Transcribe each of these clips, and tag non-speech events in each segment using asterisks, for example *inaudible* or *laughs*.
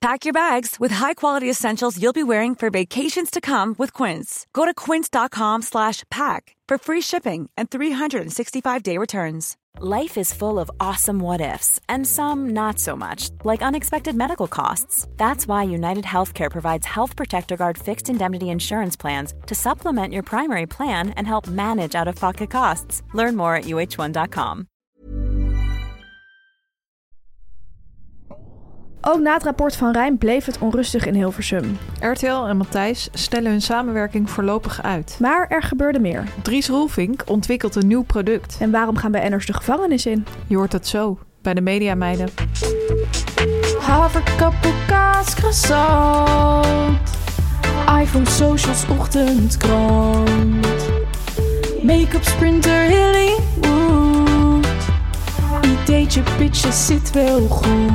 Pack your bags with high-quality essentials you'll be wearing for vacations to come with Quince. Go to quince.com/pack for free shipping and 365-day returns. Life is full of awesome what ifs and some not so much, like unexpected medical costs. That's why United Healthcare provides Health Protector Guard fixed indemnity insurance plans to supplement your primary plan and help manage out-of-pocket costs. Learn more at uh1.com. Ook na het rapport van Rijn bleef het onrustig in Hilversum. RTL en Matthijs stellen hun samenwerking voorlopig uit. Maar er gebeurde meer. Dries Roelvink ontwikkelt een nieuw product. En waarom gaan BN'ers de gevangenis in? Je hoort dat zo bij de Mediameiden. Haverkappel, kaas, croissant. iPhone, socials, ochtendkrant. Make-up, sprinter, Hollywood. Ideetje, pitjes, zit wel goed.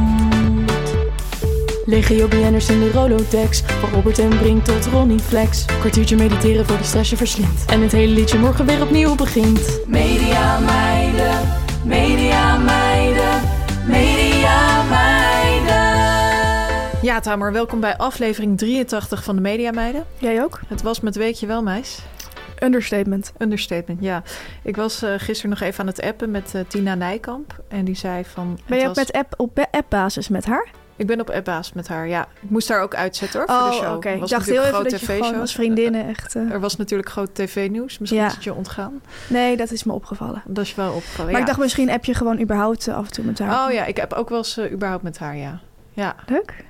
Legio BN'ers in de Rolodex. Van Robert en Brink tot Ronnie Flex. Kwartiertje mediteren voor de stress je verslindt. En het hele liedje morgen weer opnieuw begint. Media meiden, media meiden, media meiden. Ja, Tamer, welkom bij aflevering 83 van de Mediameiden. Jij ook? Het was met Weet je wel, meis? Understatement. Understatement, ja. Ik was eh, gisteren nog even aan het appen met eh, Tina Nijkamp. En die zei van... het Ben je ook was- met app, op be- appbasis met haar? Ik ben op appbaas met haar, ja. Ik moest haar ook uitzetten hoor, voor de show. Oh, oké. Was Ik dacht heel natuurlijk even groot dat je gewoon tv-show. als vriendinnen echt... eh, Er was natuurlijk groot tv-nieuws. Misschien Ja. is het je ontgaan. Nee, dat is me opgevallen. Dat is wel opgevallen, Maar Oh, ja. ik dacht, misschien heb je gewoon überhaupt eh, af en toe met haar. Oh ja, ik heb ook wel eens eh, überhaupt met haar, ja. Ja, Leuk.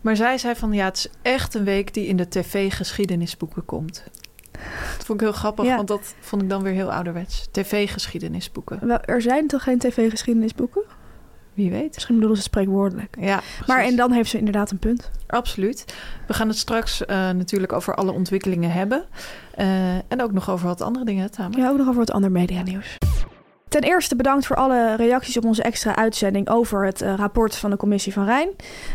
maar zij zei van ja, het is echt een week die in de tv-geschiedenisboeken komt. Dat vond ik heel grappig, Ja. want dat vond ik dan weer heel ouderwets. TV-geschiedenisboeken, Wel, er zijn toch geen tv-geschiedenisboeken? wie weet. Misschien bedoelen ze spreekwoordelijk. Ja, precies. Maar en dan heeft ze inderdaad een punt. absoluut. We gaan het straks eh, natuurlijk over alle ontwikkelingen hebben. Eh, en ook nog over wat andere dingen, hè, Tamer. Ja, ook nog over wat ander medianieuws. Ten eerste bedankt voor alle reacties op onze extra uitzending over het eh, rapport van de commissie van Rijn.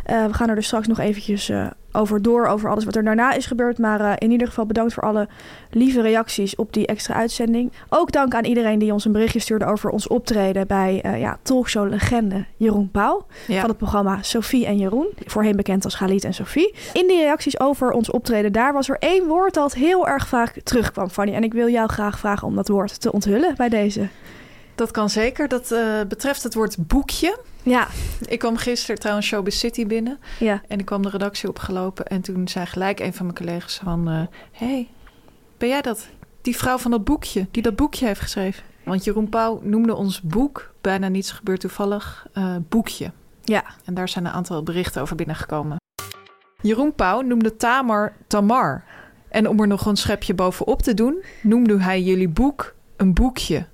Eh, we gaan er dus straks nog eventjes eh, over door, over alles wat er daarna is gebeurd. Maar eh, in ieder geval bedankt voor alle lieve reacties op die extra uitzending. Ook dank aan iedereen die ons een berichtje stuurde over ons optreden bij eh ja, talkshow legende Jeroen Pauw Ja. van het programma Sophie en Jeroen. Voorheen bekend als Galit en Sophie. In die reacties over ons optreden daar was er één woord dat heel erg vaak terugkwam, Fanny. En ik wil jou graag vragen om dat woord te onthullen bij deze. Dat kan zeker. Dat eh, betreft het woord boekje. Ja, Ik kwam gisteren trouwens Showbiz City binnen. ja. En ik kwam de redactie opgelopen en toen zei gelijk een van mijn collega's van... eh, hey, ben jij dat? Die vrouw van dat boekje, die dat boekje heeft geschreven. Want Jeroen Pauw noemde ons boek, bijna niets gebeurt toevallig, eh, boekje. Ja. En daar zijn een aantal berichten over binnengekomen. Jeroen Pauw noemde Tamar Tamar. En om er nog een schepje bovenop te doen, noemde hij jullie boek een boekje.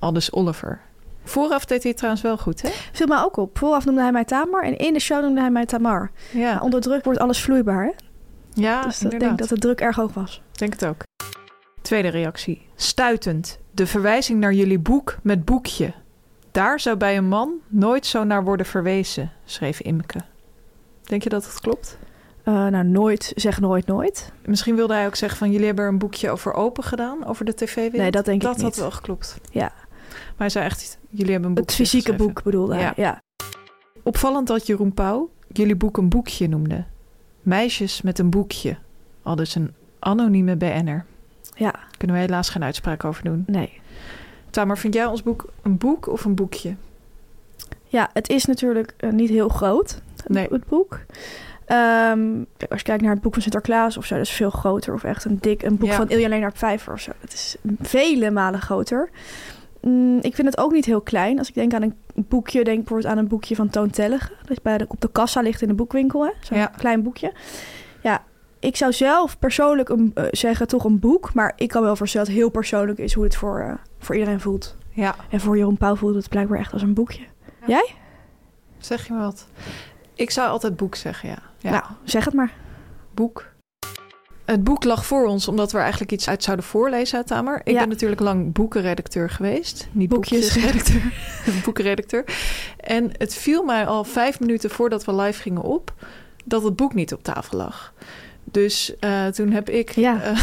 Aldus Oliver. Vooraf deed hij het trouwens wel goed, hè? Viel mij ook op. Vooraf noemde hij mij Tamar en in de show noemde hij mij Tamar. Ja, Onder druk wordt alles vloeibaar, hè? ja dus ik Ah, inderdaad. denk dat de druk erg hoog was. Denk het ook. Tweede reactie. Stuitend. De verwijzing naar jullie boek met boekje. Daar zou bij een man nooit zo naar worden verwezen, schreef Imke. Denk je dat dat klopt? Eh, nou, nooit zeg nooit nooit. Misschien wilde hij ook zeggen van jullie hebben er een boekje over open gedaan, over de tv-wereld. Nee, dat denk ik dat had niet. wel geklopt. Ja. Maar hij zei echt, jullie hebben een boekje Het fysieke geschreven. boek bedoelde hij. Ja. Ja. Opvallend dat Jeroen Pauw jullie boek een boekje noemde. Meisjes met een boekje. Al dus een anonieme BN'er. Ja. Kunnen we helaas geen uitspraak over doen. Nee. Tamer, vind jij ons boek een boek of een boekje? Ja, het is natuurlijk eh, niet heel groot. Nee. het boek. Ehm, kijk, als je kijkt naar het boek van Sinterklaas of zo, dat is veel groter. Of echt een dik, een boek Ja. van Ilja Leenaert Vijver of zo. Het is vele malen groter. Mm, ik vind het ook niet heel klein. Als ik denk aan een boekje, denk bijvoorbeeld aan een boekje van Toon Tellige. Dat bij de, op de kassa ligt in de boekwinkel, hè? Zo'n Ja. klein boekje. Ja, ik zou zelf persoonlijk een, eh, zeggen toch een boek. Maar ik kan wel voorstellen dat het heel persoonlijk is hoe het voor, eh, voor iedereen voelt. Ja. En voor Jeroen Pauw voelt het blijkbaar echt als een boekje. Zeg je me wat? Ik zou altijd boek zeggen, ja. ja. Nou, zeg het maar. boek. Het boek lag voor ons omdat we er eigenlijk iets uit zouden voorlezen uit Tamer. Ik Ja. ben natuurlijk lang boekenredacteur geweest. Niet Boekjesredacteur. boekjes- *laughs* boekenredacteur. En het viel mij al vijf minuten voordat we live gingen op... dat het boek niet op tafel lag. Dus eh, toen heb ik... Ja. eh,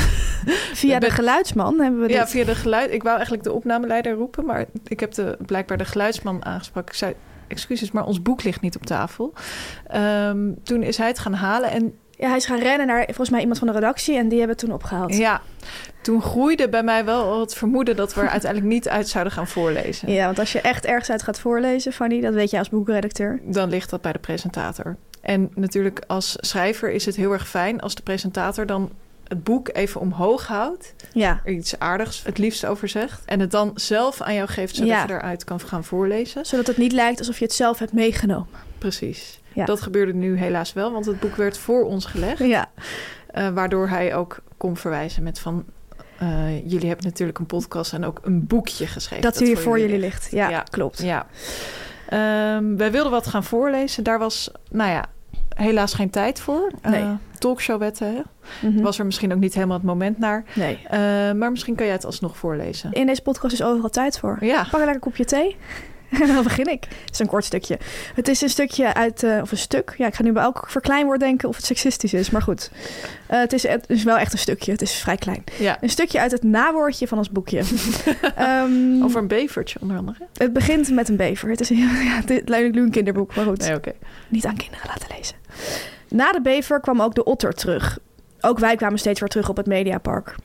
Via de Ben- geluidsman hebben we dit. ja, via de geluid. Ik wou eigenlijk de opnameleider roepen, maar ik heb de, blijkbaar de geluidsman aangesproken. Ik zei: Excuses, maar ons boek ligt niet op tafel. Ehm, toen is hij het gaan halen en Ja, hij is gaan rennen naar volgens mij iemand van de redactie en die hebben het toen opgehaald. ja, toen groeide bij mij wel al het vermoeden dat *laughs* we er uiteindelijk niet uit zouden gaan voorlezen. Ja, want als je echt ergens uit gaat voorlezen, Fanny, dat weet jij als boekredacteur. Dan ligt dat bij de presentator. En natuurlijk als schrijver is het heel erg fijn als de presentator dan het boek even omhoog houdt, Ja. er iets aardigs het liefst over zegt en het dan zelf aan jou geeft zodat Ja. je eruit kan gaan voorlezen. Zodat het niet lijkt alsof je het zelf hebt meegenomen. Precies. Ja. Dat gebeurde nu helaas wel, want het boek werd voor ons gelegd. Ja. eh, waardoor hij ook kon verwijzen met van... eh, jullie hebben natuurlijk een podcast en ook een boekje geschreven. Dat hier voor jullie ligt. ligt. Ja, Ja. klopt. Ja. Ehm, wij wilden wat gaan voorlezen. Daar was, nou ja, helaas geen tijd voor. Nee. Eh, talkshowwetten hè? Mhm. was er misschien ook niet helemaal het moment naar. Nee. Eh, maar misschien kan jij het alsnog voorlezen. In deze podcast is overal tijd voor. Ja, Pak een lekker kopje thee. *laughs* En dan begin ik. Het is een kort stukje. Het is een stukje uit, eh, of een stuk. Ja, ik ga nu bij elk verkleinwoord denken of het seksistisch is, maar goed. Eh, het, is, het is wel echt een stukje. Het is vrij klein. ja. Een stukje uit het nawoordje van ons boekje. Ehm, Over een bevertje onder andere. Het begint met een bever. Het is heel, *laughs* ja, dit lijkt nu een kinderboek, maar goed. Nee, oké. Niet aan kinderen laten lezen. Na de bever kwam ook de otter terug. Ook wij kwamen steeds weer terug op het Mediapark.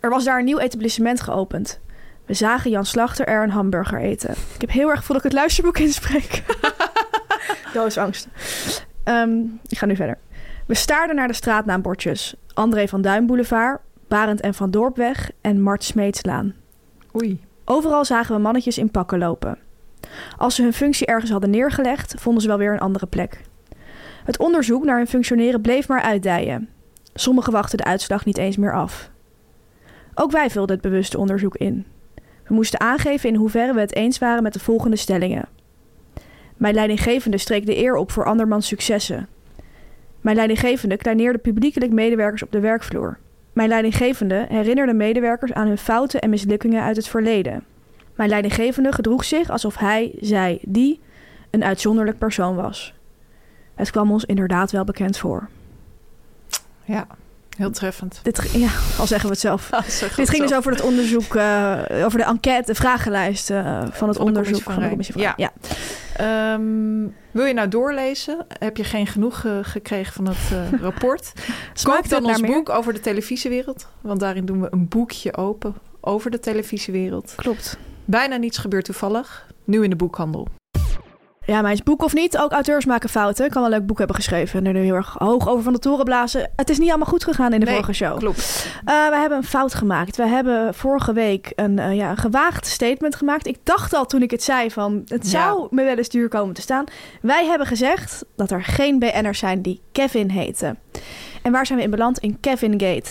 Er was daar een nieuw etablissement geopend. We zagen Jan Slachter er een hamburger eten. Ik heb heel erg voel dat ik het luisterboek inspreek. *laughs* Doodsangst. Ehm, ik ga nu verder. We staarden naar de straatnaambordjes. André van Duin Boulevard, Barend en Van Dorpweg en Mart Smeetslaan. Oei. Overal zagen we mannetjes in pakken lopen. Als ze hun functie ergens hadden neergelegd, vonden ze wel weer een andere plek. Het onderzoek naar hun functioneren bleef maar uitdijen. Sommigen wachten de uitslag niet eens meer af. Ook wij vulden het bewuste onderzoek in. We moesten aangeven in hoeverre we het eens waren met de volgende stellingen. Mijn leidinggevende streek de eer op voor andermans successen. Mijn leidinggevende kleineerde publiekelijk medewerkers op de werkvloer. Mijn leidinggevende herinnerde medewerkers aan hun fouten en mislukkingen uit het verleden. Mijn leidinggevende gedroeg zich alsof hij, zij, die een uitzonderlijk persoon was. Het kwam ons inderdaad wel bekend voor. Ja, heel treffend. Dit, g- ja, al zeggen we het zelf. Ah, zo *laughs* goed *laughs* Dit ging zo. dus over het onderzoek, eh, over de enquête, de vragenlijst eh, van het de onderzoek commissie van van de Rijn. commissie van Ja. Rijn. Ja. Ehm, wil je nou doorlezen? Heb je geen genoeg eh, gekregen van het *laughs* eh, rapport? Smaakt Koop het dan naar ons meer? boek over de televisiewereld. Want daarin doen we een boekje open over de televisiewereld. Klopt. Bijna niets gebeurt toevallig. Nu in de boekhandel. Ja, maar is boek of niet, ook auteurs maken fouten. Ik kan wel een leuk boek hebben geschreven en er nu heel erg hoog over van de toren blazen. Het is niet allemaal goed gegaan in de Nee, vorige show. Klopt. Eh, we hebben een fout gemaakt. We hebben vorige week een, eh, ja, een gewaagd statement gemaakt. Ik dacht al toen ik het zei van... het Ja. zou me wel eens duur komen te staan. Wij hebben gezegd dat er geen BN'ers zijn die Kevin heten. En waar zijn we in beland? In Kevin Gate.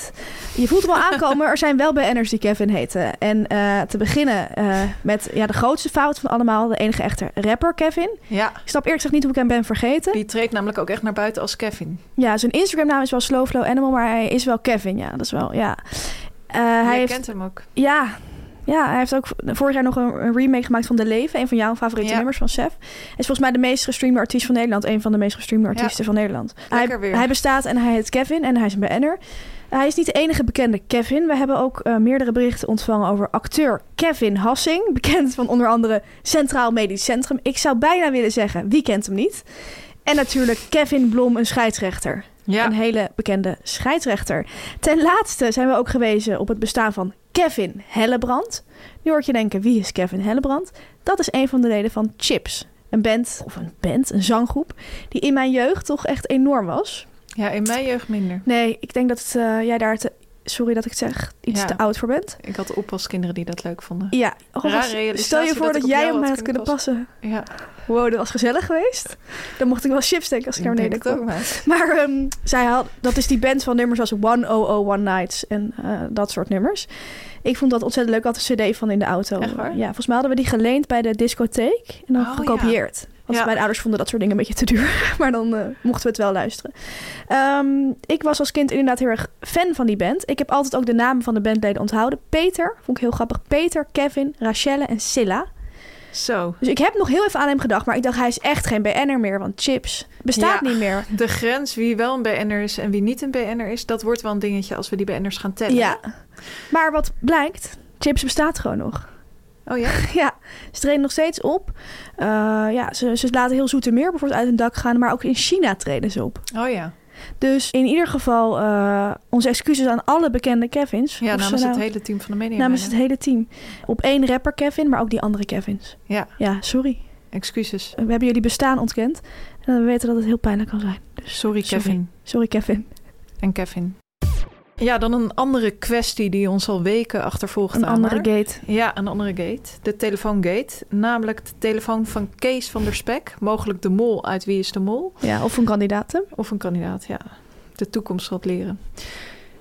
Je voelt hem al aankomen, er zijn wel BN'ers die Kevin heten. En eh, te beginnen eh, met ja, de grootste fout van allemaal... de enige echte rapper Kevin. Ja, Ik snap eerlijk gezegd niet hoe ik hem ben vergeten. die treedt namelijk ook echt naar buiten als Kevin. Ja, zijn Instagram-naam is wel Slow Flow Animal... maar hij is wel Kevin, ja. Dat is wel, ja... Eh, hij Jij heeft kent hem ook. ja. Ja, hij heeft ook vorig jaar nog een, een remake gemaakt van De Leven. Een van jouw favoriete Ja. nummers van Sef. Hij is volgens mij de meest gestreamde artiest van Nederland. Een van de meest gestreamde artiesten van Nederland. Hij, Lekker weer. hij bestaat en hij heet Kevin en hij is een BN'er. Hij is niet de enige bekende Kevin. We hebben ook eh, meerdere berichten ontvangen over acteur Kevin Hassing. *laughs* Bekend van onder andere Centraal Medisch Centrum. Ik zou bijna willen zeggen, wie kent hem niet? En natuurlijk Kevin Blom, een scheidsrechter. Een Ja, hele bekende scheidsrechter. Ten laatste zijn we ook gewezen op het bestaan van Kevin Hellebrand. Nu hoort je denken, wie is Kevin Hellebrand? Dat is een van de leden van Chips. Een band, of een band, een zanggroep, die in mijn jeugd toch echt enorm was. ja, in mijn jeugd minder. Nee, ik denk dat het, eh, jij daar te, sorry dat ik het zeg, iets Ja. te oud voor bent. Ik had oppaskinderen die dat leuk vonden. Ja, Oh, Raar wat- stel je realisatie voor dat, dat ik op jij jou op mij had had kunnen kunnen passen. Ja, Wow, dat was gezellig geweest. Dan mocht ik wel chips denken als ik naar ik denk beneden het kwam. ook maar. Maar ehm, zij had, dat is die band van nummers als 1001 Nights en eh, dat soort nummers. Ik vond dat ontzettend leuk. Ik had een cd van in de auto. Echt waar? Ja, volgens mij hadden we die geleend bij de discotheek en dan Oh, gekopieerd. Want Ja. mijn ouders vonden dat soort dingen een beetje te duur. *laughs* Maar dan eh, mochten we het wel luisteren. Ehm, ik was als kind inderdaad heel erg fan van die band. Ik heb altijd ook de namen van de bandleden onthouden. Peter, vond ik heel grappig. Peter, Kevin, Rachelle en Silla. Zo, Dus ik heb nog heel even aan hem gedacht. Maar ik dacht, hij is echt geen BN'er meer. Want Chips bestaat Ja. niet meer. de grens wie wel een BN'er is en wie niet een BN'er is... dat wordt wel een dingetje als we die BN'ers gaan tellen. Ja. Maar wat blijkt, Chips bestaat gewoon nog. *laughs* Oh ja? Ja, ze treden nog steeds op. Eh, ja, ze, ze laten heel Zoetermeer bijvoorbeeld uit hun dak gaan. Maar ook in China treden ze op. Oh ja. Dus in ieder geval eh, onze excuses aan alle bekende Kevins. Ja, Of ze namens het nou- hele team van de media. namens het hele team. Op één rapper Kevin, maar ook die andere Kevins. Ja. Ja, sorry. Excuses. We hebben jullie bestaan ontkend. En we weten dat het heel pijnlijk kan zijn. Sorry. Sorry, Kevin. Sorry Kevin. En Kevin. Ja, dan een andere kwestie die ons al weken achtervolgt. Een Tamar. andere gate. Ja, een andere gate. De telefoongate. Namelijk de telefoon van Kees van der Spek. Mogelijk de mol uit Wie is de Mol. Ja, of een kandidaat. hè? Of een kandidaat, ja. De toekomst gaat leren.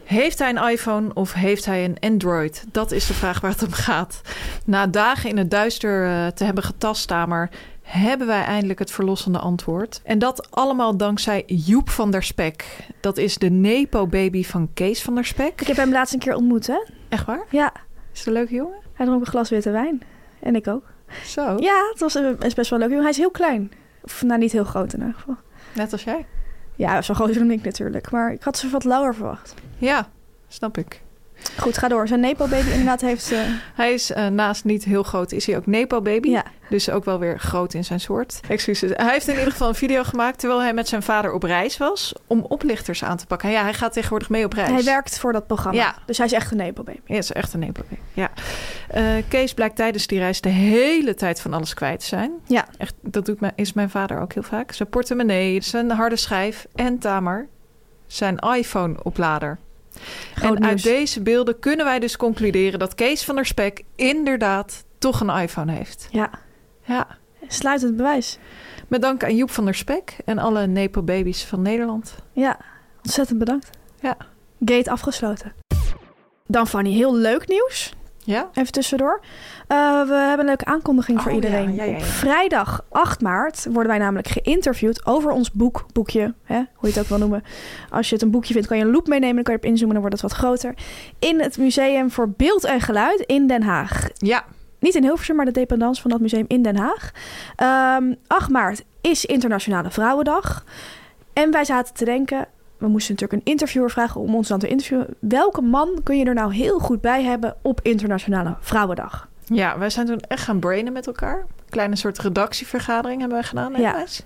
Heeft hij een iPhone of heeft hij een Android? Dat is de vraag waar het om gaat. Na dagen in het duister eh, te hebben getast, Tamer, hebben wij eindelijk het verlossende antwoord. En dat allemaal dankzij Joep van der Spek. Dat is de Nepo-baby van Kees van der Spek. Ik heb hem laatst een keer ontmoet, hè? Echt waar? Ja, Is het een leuke jongen? hij dronk een glas witte wijn. En ik ook. Zo, Ja, het was een- is best wel leuk. Hij is heel klein. Of nou, niet heel groot in elk geval. net als jij. Ja, hij is wel groter dan ik natuurlijk. Maar ik had ze wat lauwer verwacht. Ja, snap ik. Goed, ga door. Zijn Nepo-baby inderdaad heeft... eh, Hij is eh, naast niet heel groot, is hij ook Nepo-baby. ja. Dus ook wel weer groot in zijn soort. Excuses. Hij heeft in ieder geval een video gemaakt terwijl hij met zijn vader op reis was om oplichters aan te pakken. Ja, hij gaat tegenwoordig mee op reis. Hij werkt voor dat programma. Ja. Dus hij is echt een Nepo-baby. Ja, is echt een nepo. Ja. Eh, Kees blijkt tijdens die reis de hele tijd van alles kwijt te zijn. Ja. Echt, dat doet mijn, is mijn vader ook heel vaak. Zijn portemonnee, zijn harde schijf en Tamer, zijn iPhone-oplader. Groot en uit Oh, nieuws. deze beelden kunnen wij dus concluderen dat Kees van der Spek inderdaad toch een iPhone heeft. Ja, Ja. sluitend bewijs. Met dank aan Joep van der Spek en alle Nepo-babies van Nederland. Ja, ontzettend bedankt. Ja. Gate afgesloten. Dan Fanny, heel leuk nieuws. Ja? Even tussendoor. Eh, we hebben een leuke aankondiging voor Oh, ja, iedereen. ja, ja, ja. Op vrijdag 8 maart worden wij namelijk geïnterviewd over ons boek, boekje, hè, hoe je het ook wil noemen. Als je het een boekje vindt, kan je een loop meenemen, dan kan je op inzoomen, dan wordt het wat groter. In het Museum voor Beeld en Geluid in Den Haag. Ja. Niet in Hilversum, maar de dependance van dat museum in Den Haag. Ehm, 8 maart is Internationale Vrouwendag. En wij zaten te denken, we moesten natuurlijk een interviewer vragen om ons dan te interviewen. Welke man kun je er nou heel goed bij hebben op Internationale Vrouwendag? Ja, wij zijn toen echt gaan brainen met elkaar. Kleine soort redactievergadering hebben we gedaan. hè, Ja. meis?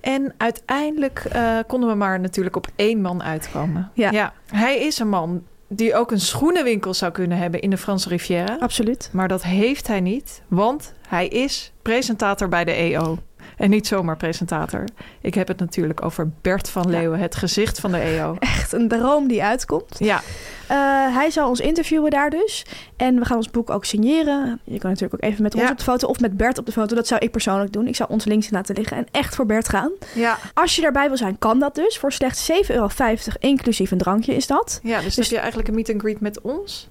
En uiteindelijk eh, konden we maar natuurlijk op één man uitkomen. Ja. Hij is een man die ook een schoenenwinkel zou kunnen hebben in de Franse Riviera. Absoluut. Maar dat heeft hij niet, want hij is presentator bij de EO. En niet zomaar presentator. Ik heb het natuurlijk over Bert van Leeuwen, het gezicht van de EO. Echt een droom die uitkomt. Ja, Eh, hij zal ons interviewen daar dus. En we gaan ons boek ook signeren. Je kan natuurlijk ook even met ons Ja. op de foto of met Bert op de foto. Dat zou ik persoonlijk doen. Ik zou ons links laten liggen en echt voor Bert gaan. ja. Als je daarbij wil zijn, kan dat dus. Voor slechts 7,50 euro, inclusief een drankje is dat. Ja, dus, dan heb je eigenlijk een meet and greet met ons.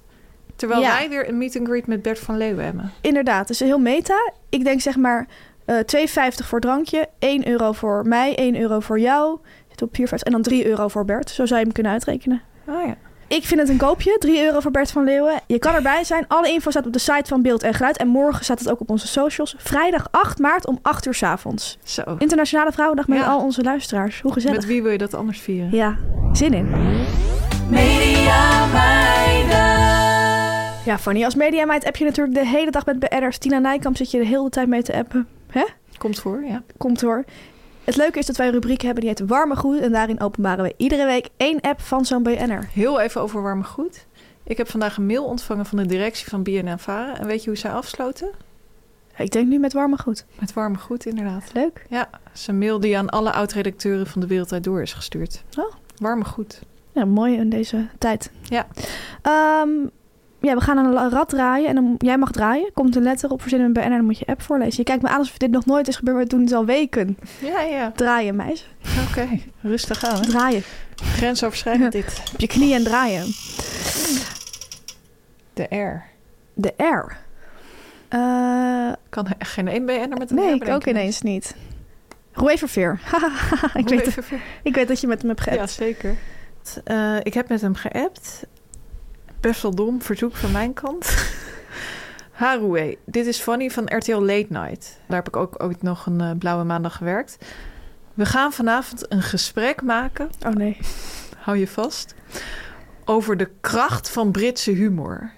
Terwijl Ja. wij weer een meet and greet met Bert van Leeuwen hebben. Inderdaad, het is heel meta. Ik denk zeg maar eh 2,50 voor drankje, 1 euro voor mij, 1 euro voor jou. Zit op 4,50 en dan 3 euro voor Bert. Zo zou je hem kunnen uitrekenen. Oh ja. Ik vind het een koopje, 3 euro voor Bert van Leeuwen. Je kan erbij zijn. Alle info staat op de site van Beeld en Geluid. En morgen staat het ook op onze socials. Vrijdag 8 maart om 8 uur 's avonds. Zo. Internationale Vrouwendag met Ja. al onze luisteraars. Hoe gezellig. Met wie wil je dat anders vieren? Ja, zin in. Media meiden. Ja, Fanny, als mediameid app je natuurlijk de hele dag met BN'ers. Tina Nijkamp zit je de hele tijd mee te appen. Komt voor, ja. Komt hoor. Het leuke is dat wij een rubriek hebben die heet Warme Goed. En daarin openbaren we iedere week één app van zo'n BN'er. Heel even over warme goed. Ik heb vandaag een mail ontvangen van de directie van BNNVARA. En weet je hoe zij afsloten? Ik denk nu met Warme Goed. Met warme goed, inderdaad. Leuk. Ja, dat is een mail die aan alle oud-redacteuren van de Wereldwijd Door is gestuurd. Oh. Warme goed. Ja, mooi in deze tijd. Ja. Ehm, ja, we gaan een la- rad draaien. En dan, jij mag draaien. Komt een letter op, verzinnen we een BN'er. Dan moet je app voorlezen. Je kijkt me aan alsof dit nog nooit is gebeurd. Maar we doen het al weken. Ja, ja. Draaien, meis. Oké, rustig aan. Hè? Draaien. Grensoverschrijdend dit. Op je knieën en draaien. De R. De R. Eh, Ik kan echt geen één BN'er met een Nee, haar ik ook bedenken. ineens niet. Roué Verveer. *laughs* Haha, ik, Hoe weet, even- ik weet dat je met hem hebt Ja, geappt. zeker. Eh, ik heb met hem geappt. Best wel dom verzoek van mijn kant. *laughs* Harué, dit is Fanny van RTL Late Night. Daar heb ik ook ooit nog een eh, blauwe maandag gewerkt. We gaan vanavond een gesprek maken Oh nee. hou je vast. Over de kracht van Britse humor.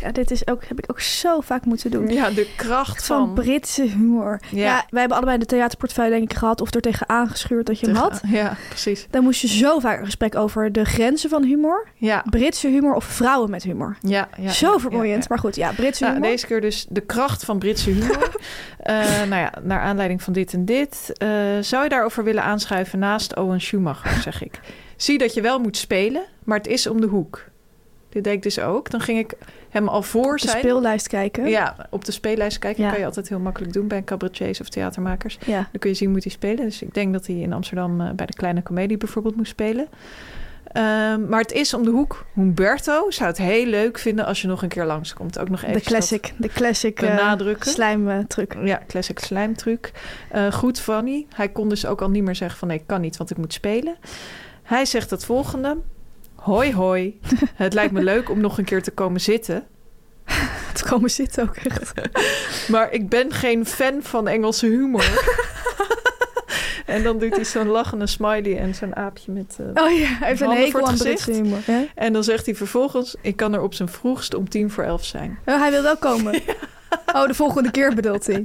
Ja, dit is ook, heb ik ook zo vaak moeten doen. Ja, de kracht Van van. Britse humor. Ja. Ja. wij hebben allebei de theaterportefeuille denk ik gehad... of er tegen aangeschuurd dat je hem had. Ja, precies. Daar moest je zo vaak een gesprek over de grenzen van humor. Ja, Britse humor of vrouwen met humor. ja, ja. zo ja, vermoeiend. ja, ja. Maar goed, ja, Britse Nou, humor. deze keer dus de kracht van Britse *laughs* humor. Eh, nou ja, naar aanleiding van dit en dit. eh, zou je daarover willen aanschuiven naast *laughs* Owen Schumacher, zeg ik. Zie dat je wel moet spelen, maar het is om de hoek. Dit deed ik dus ook. Dan ging ik hem al voor Op de zijn. speellijst kijken. Ja, op de speellijst kijken Ja. kan je altijd heel makkelijk doen bij cabaretiers of theatermakers. Ja. Dan kun je zien hoe moet hij spelen. Dus ik denk dat hij in Amsterdam eh, bij de Kleine Comedie bijvoorbeeld moest spelen. Ehm, maar het is om de hoek. Humberto zou het heel leuk vinden als je nog een keer langskomt. Ook nog even De classic, de classic dat eh benadrukken. slijm eh, truc. ja, classic slijmtruc. Eh, goed, Fanny. Hij kon dus ook al niet meer zeggen van... nee, ik kan niet, want ik moet spelen. Hij zegt het volgende. Hoi, hoi. Het lijkt me leuk om nog een keer te komen zitten. *laughs* Het komen zitten ook echt. Maar ik ben geen fan van Engelse humor. en dan doet hij zo'n lachende smiley en zo'n aapje met... eh, *laughs* Oh ja, hij heeft een Handen hekel voor het aan gezicht. Britse humor. hè? En dan zegt hij vervolgens: Ik kan er op zijn vroegst om tien voor elf zijn. Oh, hij wil wel komen. *laughs* Oh, de volgende keer bedoelt hij.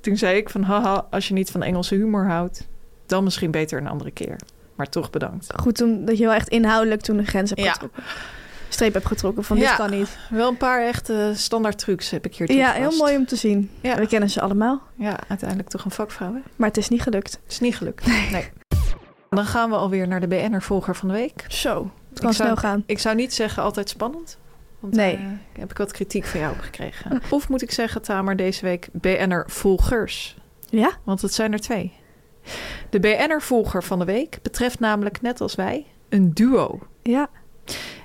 Toen zei ik: van, Haha, als je niet van Engelse humor houdt, dan misschien beter een andere keer. Maar toch bedankt. Goed, omdat je wel echt inhoudelijk toen een grens hebt Ja. getrokken. Streep hebt getrokken van Ja. dit kan niet. Wel een paar echte standaard trucs heb ik hier. Ja, toegepast. heel mooi om te zien. Ja. We kennen ze allemaal, Ja, uiteindelijk toch een vakvrouw. Hè? maar het is niet gelukt. Het is niet gelukt. Nee. Dan gaan we alweer naar de BN'er-volger van de week. Zo, het Ik kan zou- snel gaan. Ik zou niet zeggen altijd spannend. Want Nee. daar heb ik wat kritiek van jou op gekregen. *laughs* Of moet ik zeggen, Tamer, deze week BN'er-volgers. Ja? Want het zijn er twee. De BN'er-volger van de week betreft namelijk, net als wij, een duo. Ja.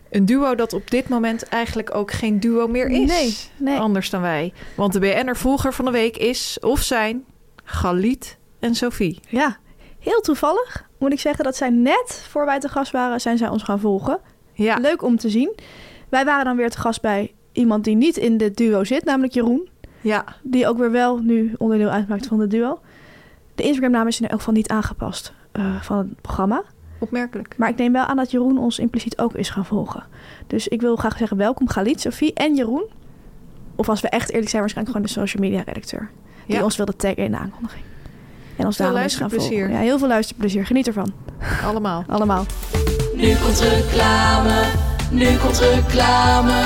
Een duo dat op dit moment eigenlijk ook geen duo meer is. Oh. Nee, nee. Anders dan wij. Want de BN'er-volger van de week is, of zijn, Galit en Sophie. Ja. Heel toevallig moet ik zeggen dat zij net voor wij te gast waren, zijn zij ons gaan volgen. Ja, Leuk om te zien. Wij waren dan weer te gast bij iemand die niet in dit duo zit, namelijk Jeroen. ja, Die ook weer wel nu onderdeel uitmaakt van het duo. De Instagram-naam is in elk geval niet aangepast eh, van het programma. opmerkelijk. Maar ik neem wel aan dat Jeroen ons impliciet ook is gaan volgen. Dus ik wil graag zeggen welkom Galit, Sophie en Jeroen. Of als we echt eerlijk zijn, waarschijnlijk gewoon de social media redacteur. Die Ja. ons wilde taggen in de aankondiging. En ons Veel daarom is gaan luisterplezier. volgen. Ja, heel veel luisterplezier. Geniet ervan. Allemaal. Allemaal. Nu komt reclame, nu komt reclame,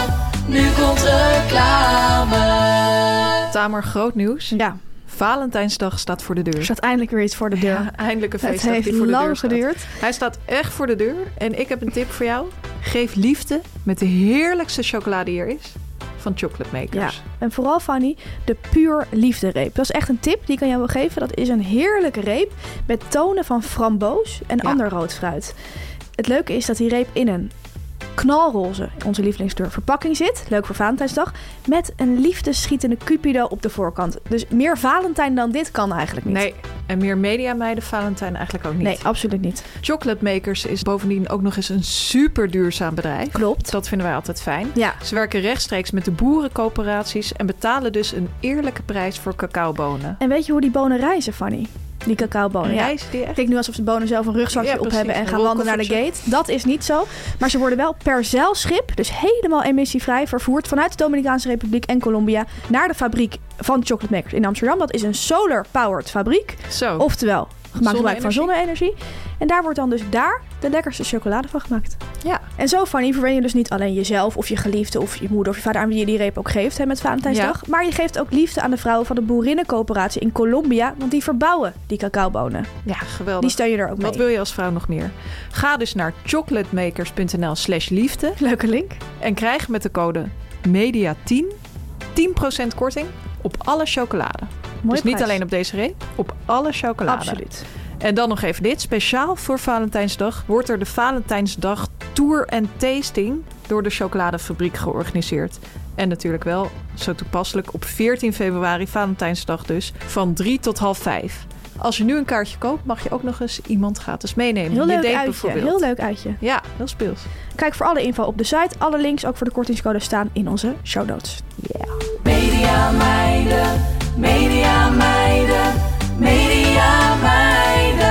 nu komt reclame. Tamer, groot nieuws. Ja, Valentijnsdag staat voor de er deur. staat eindelijk weer iets voor de deur. Ja, eindelijk een het feestdag heeft die voor de deur lang staat. geduurd. Hij staat echt voor de deur. En ik heb een tip voor jou. Geef liefde met de heerlijkste chocolade die er is. Van Chocolate Ja, Makers. en vooral Fanny, de puur liefde reep. Dat is echt een tip die ik aan jou wil geven. Dat is een heerlijke reep met tonen van framboos en Ja. ander rood fruit. Het leuke is dat die reep in een knalroze, onze lievelingsdeur, verpakking zit. Leuk voor Valentijnsdag. Met een liefdesschietende cupido op de voorkant. Dus meer Valentijn dan dit kan eigenlijk niet. Nee, en meer media meiden Valentijn eigenlijk ook niet. Nee, absoluut niet. Chocolate Makers is bovendien ook nog eens een super duurzaam bedrijf. Klopt. Dat vinden wij altijd fijn. Ja, Ze werken rechtstreeks met de boerencoöperaties en betalen dus een eerlijke prijs voor cacaobonen. en weet je hoe die bonen reizen, Fanny? Die cacaobonen. Ja. Reizen die echt? Het klinkt nu alsof de bonen zelf een rugzakje Ja, op precies. hebben en Een gaan wandelen naar de rolkoffertje. gate. Dat is niet zo. Maar ze worden wel per zeilschip, dus helemaal emissievrij, vervoerd vanuit de Dominicaanse Republiek en Colombia naar de fabriek van de Chocolate Makers in Amsterdam. Dat is een solar-powered fabriek. Zo. Oftewel, gemaakt gebruik van Oh. Zonne-energie. zonne-energie. En daar wordt dan dus daar de lekkerste chocolade van gemaakt. Ja. En zo, Fanny, verwen je dus niet alleen jezelf of je geliefde of je moeder of je vader aan wie je die reep ook geeft hè, met Valentijnsdag. Maar je geeft ook liefde aan de vrouwen van de boerinnencoöperatie in Colombia, want die verbouwen die cacaobonen. Ja, geweldig. Die steun je er ook mee. Wat wil je als vrouw nog meer? Ga dus naar chocolatemakers.nl slash liefde Leuke link. en krijg met de code MEDIA10 10% korting op alle chocolade. dus niet alleen op deze reep, op alle chocolade. Absoluut. En dan nog even dit. Speciaal voor Valentijnsdag wordt er de Valentijnsdag Tour en Tasting door de chocoladefabriek georganiseerd. En natuurlijk wel, zo toepasselijk, op 14 februari, Valentijnsdag dus, van 3 tot half 5. Als je nu een kaartje koopt, mag je ook nog eens iemand gratis meenemen. Heel Je leuk date uitje. bijvoorbeeld. Heel leuk uitje. Ja, heel speels. Kijk voor alle info op de site. Alle links, ook voor de kortingscode, staan in onze show notes. Media meiden, media meiden, media meiden.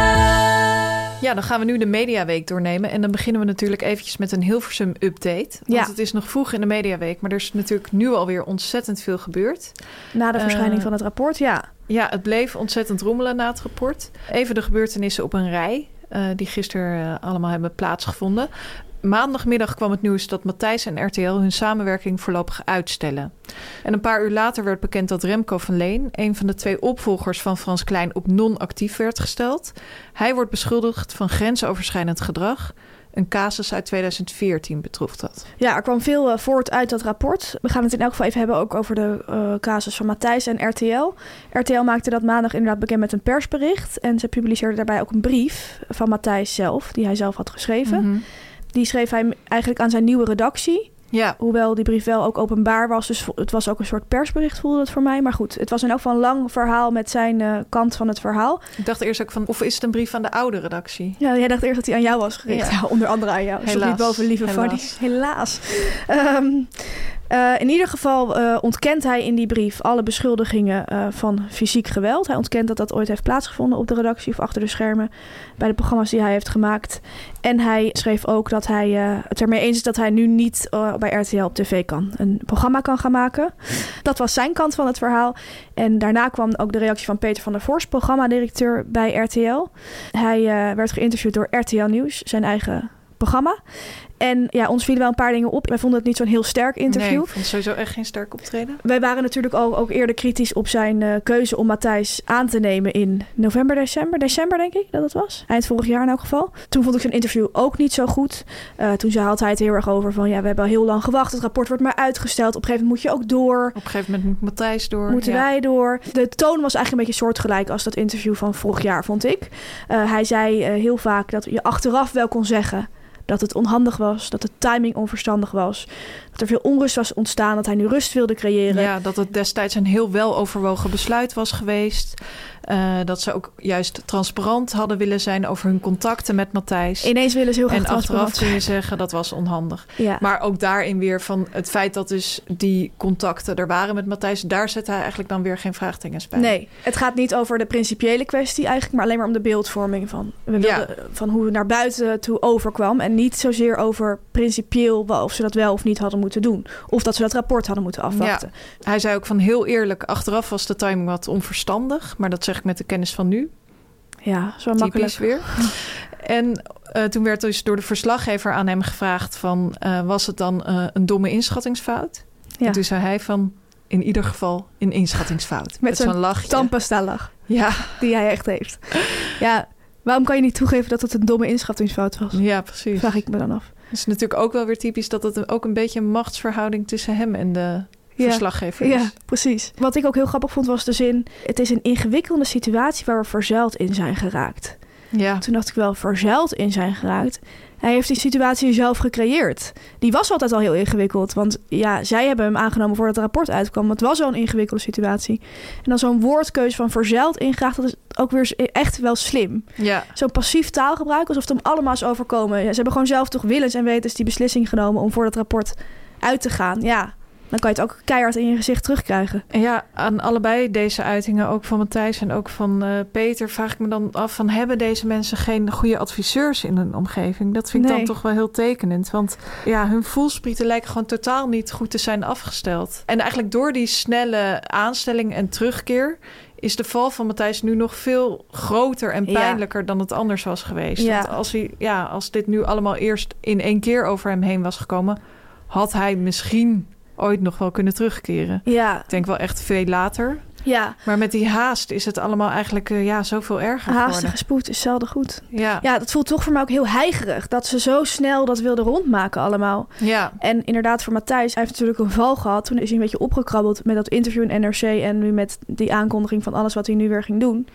Ja, dan gaan we nu de Mediaweek doornemen. En dan beginnen we natuurlijk eventjes met een Hilversum update. Want Ja. het is nog vroeg in de Mediaweek, maar er is natuurlijk nu alweer ontzettend veel gebeurd. Na de verschijning Eh, van het rapport, ja. Ja, het bleef ontzettend rommelen na het rapport. Even de gebeurtenissen op een rij, eh, die gisteren eh, allemaal hebben plaatsgevonden. Maandagmiddag kwam het nieuws dat Matthijs en RTL hun samenwerking voorlopig uitstellen. En een paar uur later werd bekend dat Remco van Leen, een van de twee opvolgers van Frans Klein, op non-actief werd gesteld. Hij wordt beschuldigd van grensoverschrijdend gedrag. Een casus uit 2014 betrof dat. Ja, er kwam veel eh, voort uit dat rapport. We gaan het in elk geval even hebben ook over de eh, casus van Matthijs en RTL. RTL maakte dat maandag inderdaad bekend met een persbericht. En ze publiceerde daarbij ook een brief van Matthijs zelf, die hij zelf had Mhm. geschreven. Die schreef hij eigenlijk aan zijn nieuwe redactie. Ja, Hoewel die brief wel ook openbaar was. Dus vo- het was ook een soort persbericht, voelde het voor mij. Maar goed, het was in elk geval een lang verhaal met zijn eh, kant van het verhaal. ik dacht eerst ook van, of is het een brief aan de oude redactie? Ja, jij dacht eerst dat hij aan jou was gericht. Ja. Ja, onder andere aan jou. Stond niet Helaas. boven lieve Helaas. Fanny. Helaas. Ehm, eh, in ieder geval eh, ontkent hij in die brief alle beschuldigingen eh, van fysiek geweld. Hij ontkent dat dat ooit heeft plaatsgevonden op de redactie of achter de schermen bij de programma's die hij heeft gemaakt. En hij schreef ook dat hij eh, het ermee eens is dat hij nu niet eh, bij RTL op tv kan. Een programma kan gaan maken. Dat was zijn kant van het verhaal. En daarna kwam ook de reactie van Peter van der Vorst, programmadirecteur bij RTL. Hij eh, werd geïnterviewd door RTL Nieuws, zijn eigen programma. En ja, ons vielen wel een paar dingen op. Wij vonden het niet zo'n heel sterk interview. Nee, ik vond het sowieso echt geen sterk optreden. Wij waren natuurlijk ook, ook eerder kritisch op zijn eh, keuze om Matthijs aan te nemen in november, december. December denk ik dat het was. Eind vorig jaar in elk geval. Toen vond ik zijn interview ook niet zo goed. Eh, toen zei- had hij het heel erg over van ja, we hebben al heel lang gewacht. Het rapport wordt maar uitgesteld. Op een gegeven moment moet je ook door. Op een gegeven moment moet Matthijs door. Moeten ja. wij door? De toon was eigenlijk een beetje soortgelijk als dat interview van vorig jaar, vond ik. Eh, hij zei eh, heel vaak dat je achteraf wel kon zeggen dat het onhandig was, dat de timing onverstandig was, dat er veel onrust was ontstaan, dat hij nu rust wilde creëren. Ja, dat het destijds een heel weloverwogen besluit was geweest. Eh, dat ze ook juist transparant hadden willen zijn over hun contacten met Matthijs. Ineens willen ze heel graag en achteraf transparant kun zijn. je zeggen dat was onhandig. Ja. Maar ook daarin weer van het feit dat dus die contacten er waren met Matthijs, daar zet hij eigenlijk dan weer geen vraagtekens bij. Nee, het gaat niet over de principiële kwestie eigenlijk, maar alleen maar om de beeldvorming van, we Ja. wilden, eh, van hoe het naar buiten toe overkwam. En niet zozeer over principieel wel- of ze dat wel of niet hadden moeten doen. Of dat ze dat rapport hadden moeten afwachten. Hij zei ook van heel eerlijk, achteraf was de timing wat onverstandig, maar dat zeg ik met de kennis van nu. Ja, zo makkelijk. Typisch weer. *laughs* En eh, toen werd dus door de verslaggever aan hem gevraagd van... eh, was het dan eh, een domme inschattingsfout? Ja. En toen zei hij van... in ieder geval een inschattingsfout. Met, zo'n zo'n lachje. Tandpasta lag, Ja, die hij echt heeft. Ja, waarom kan je niet toegeven dat het een domme inschattingsfout was? ja, precies. Vraag ik me dan af. Het is natuurlijk ook wel weer typisch... dat het ook een beetje een machtsverhouding tussen hem en de Ja. verslaggever is. Ja, precies. Wat ik ook heel grappig vond was de zin... het is een ingewikkelde situatie waar we verzeild in zijn geraakt. Ja. Toen dacht ik wel, verzeild in zijn geraakt. Hij heeft die situatie zelf gecreëerd. Die was altijd al heel ingewikkeld. Want ja, zij hebben hem aangenomen voordat het rapport uitkwam. want Het was zo'n ingewikkelde situatie. En dan zo'n woordkeuze van verzeild in geraakt... dat is ook weer echt wel slim. ja. Zo'n passief taalgebruik, alsof het hem allemaal is overkomen. Ja, ze hebben gewoon zelf toch willens en wetens die beslissing genomen... om voor dat rapport uit te gaan. Ja, dan kan je het ook keihard in je gezicht terugkrijgen. En ja, aan allebei deze uitingen, ook van Matthijs en ook van eh, Peter, vraag ik me dan af van hebben deze mensen geen goede adviseurs in hun omgeving? Dat vind ik Nee. dan toch wel heel tekenend, want ja, hun voelsprieten lijken gewoon totaal niet goed te zijn afgesteld. En eigenlijk door die snelle aanstelling en terugkeer is de val van Matthijs nu nog veel groter en Ja. pijnlijker dan het anders was geweest. Ja. Want als, hij, ja, als dit nu allemaal eerst in één keer over hem heen was gekomen, had hij misschien ooit nog wel kunnen terugkeren. Ja, Ik denk wel echt veel later. ja. Maar met die haast is het allemaal eigenlijk eh, ja, zoveel erger Haastige geworden. spoed is zelden goed. Ja, ja. Ja, dat voelt toch voor mij ook heel heigerig. Dat ze zo snel dat wilden rondmaken allemaal. En inderdaad, voor Matthijs, hij heeft natuurlijk een val gehad. Toen is hij een beetje opgekrabbeld met dat interview in NRC... en nu met die aankondiging van alles wat hij nu weer ging doen.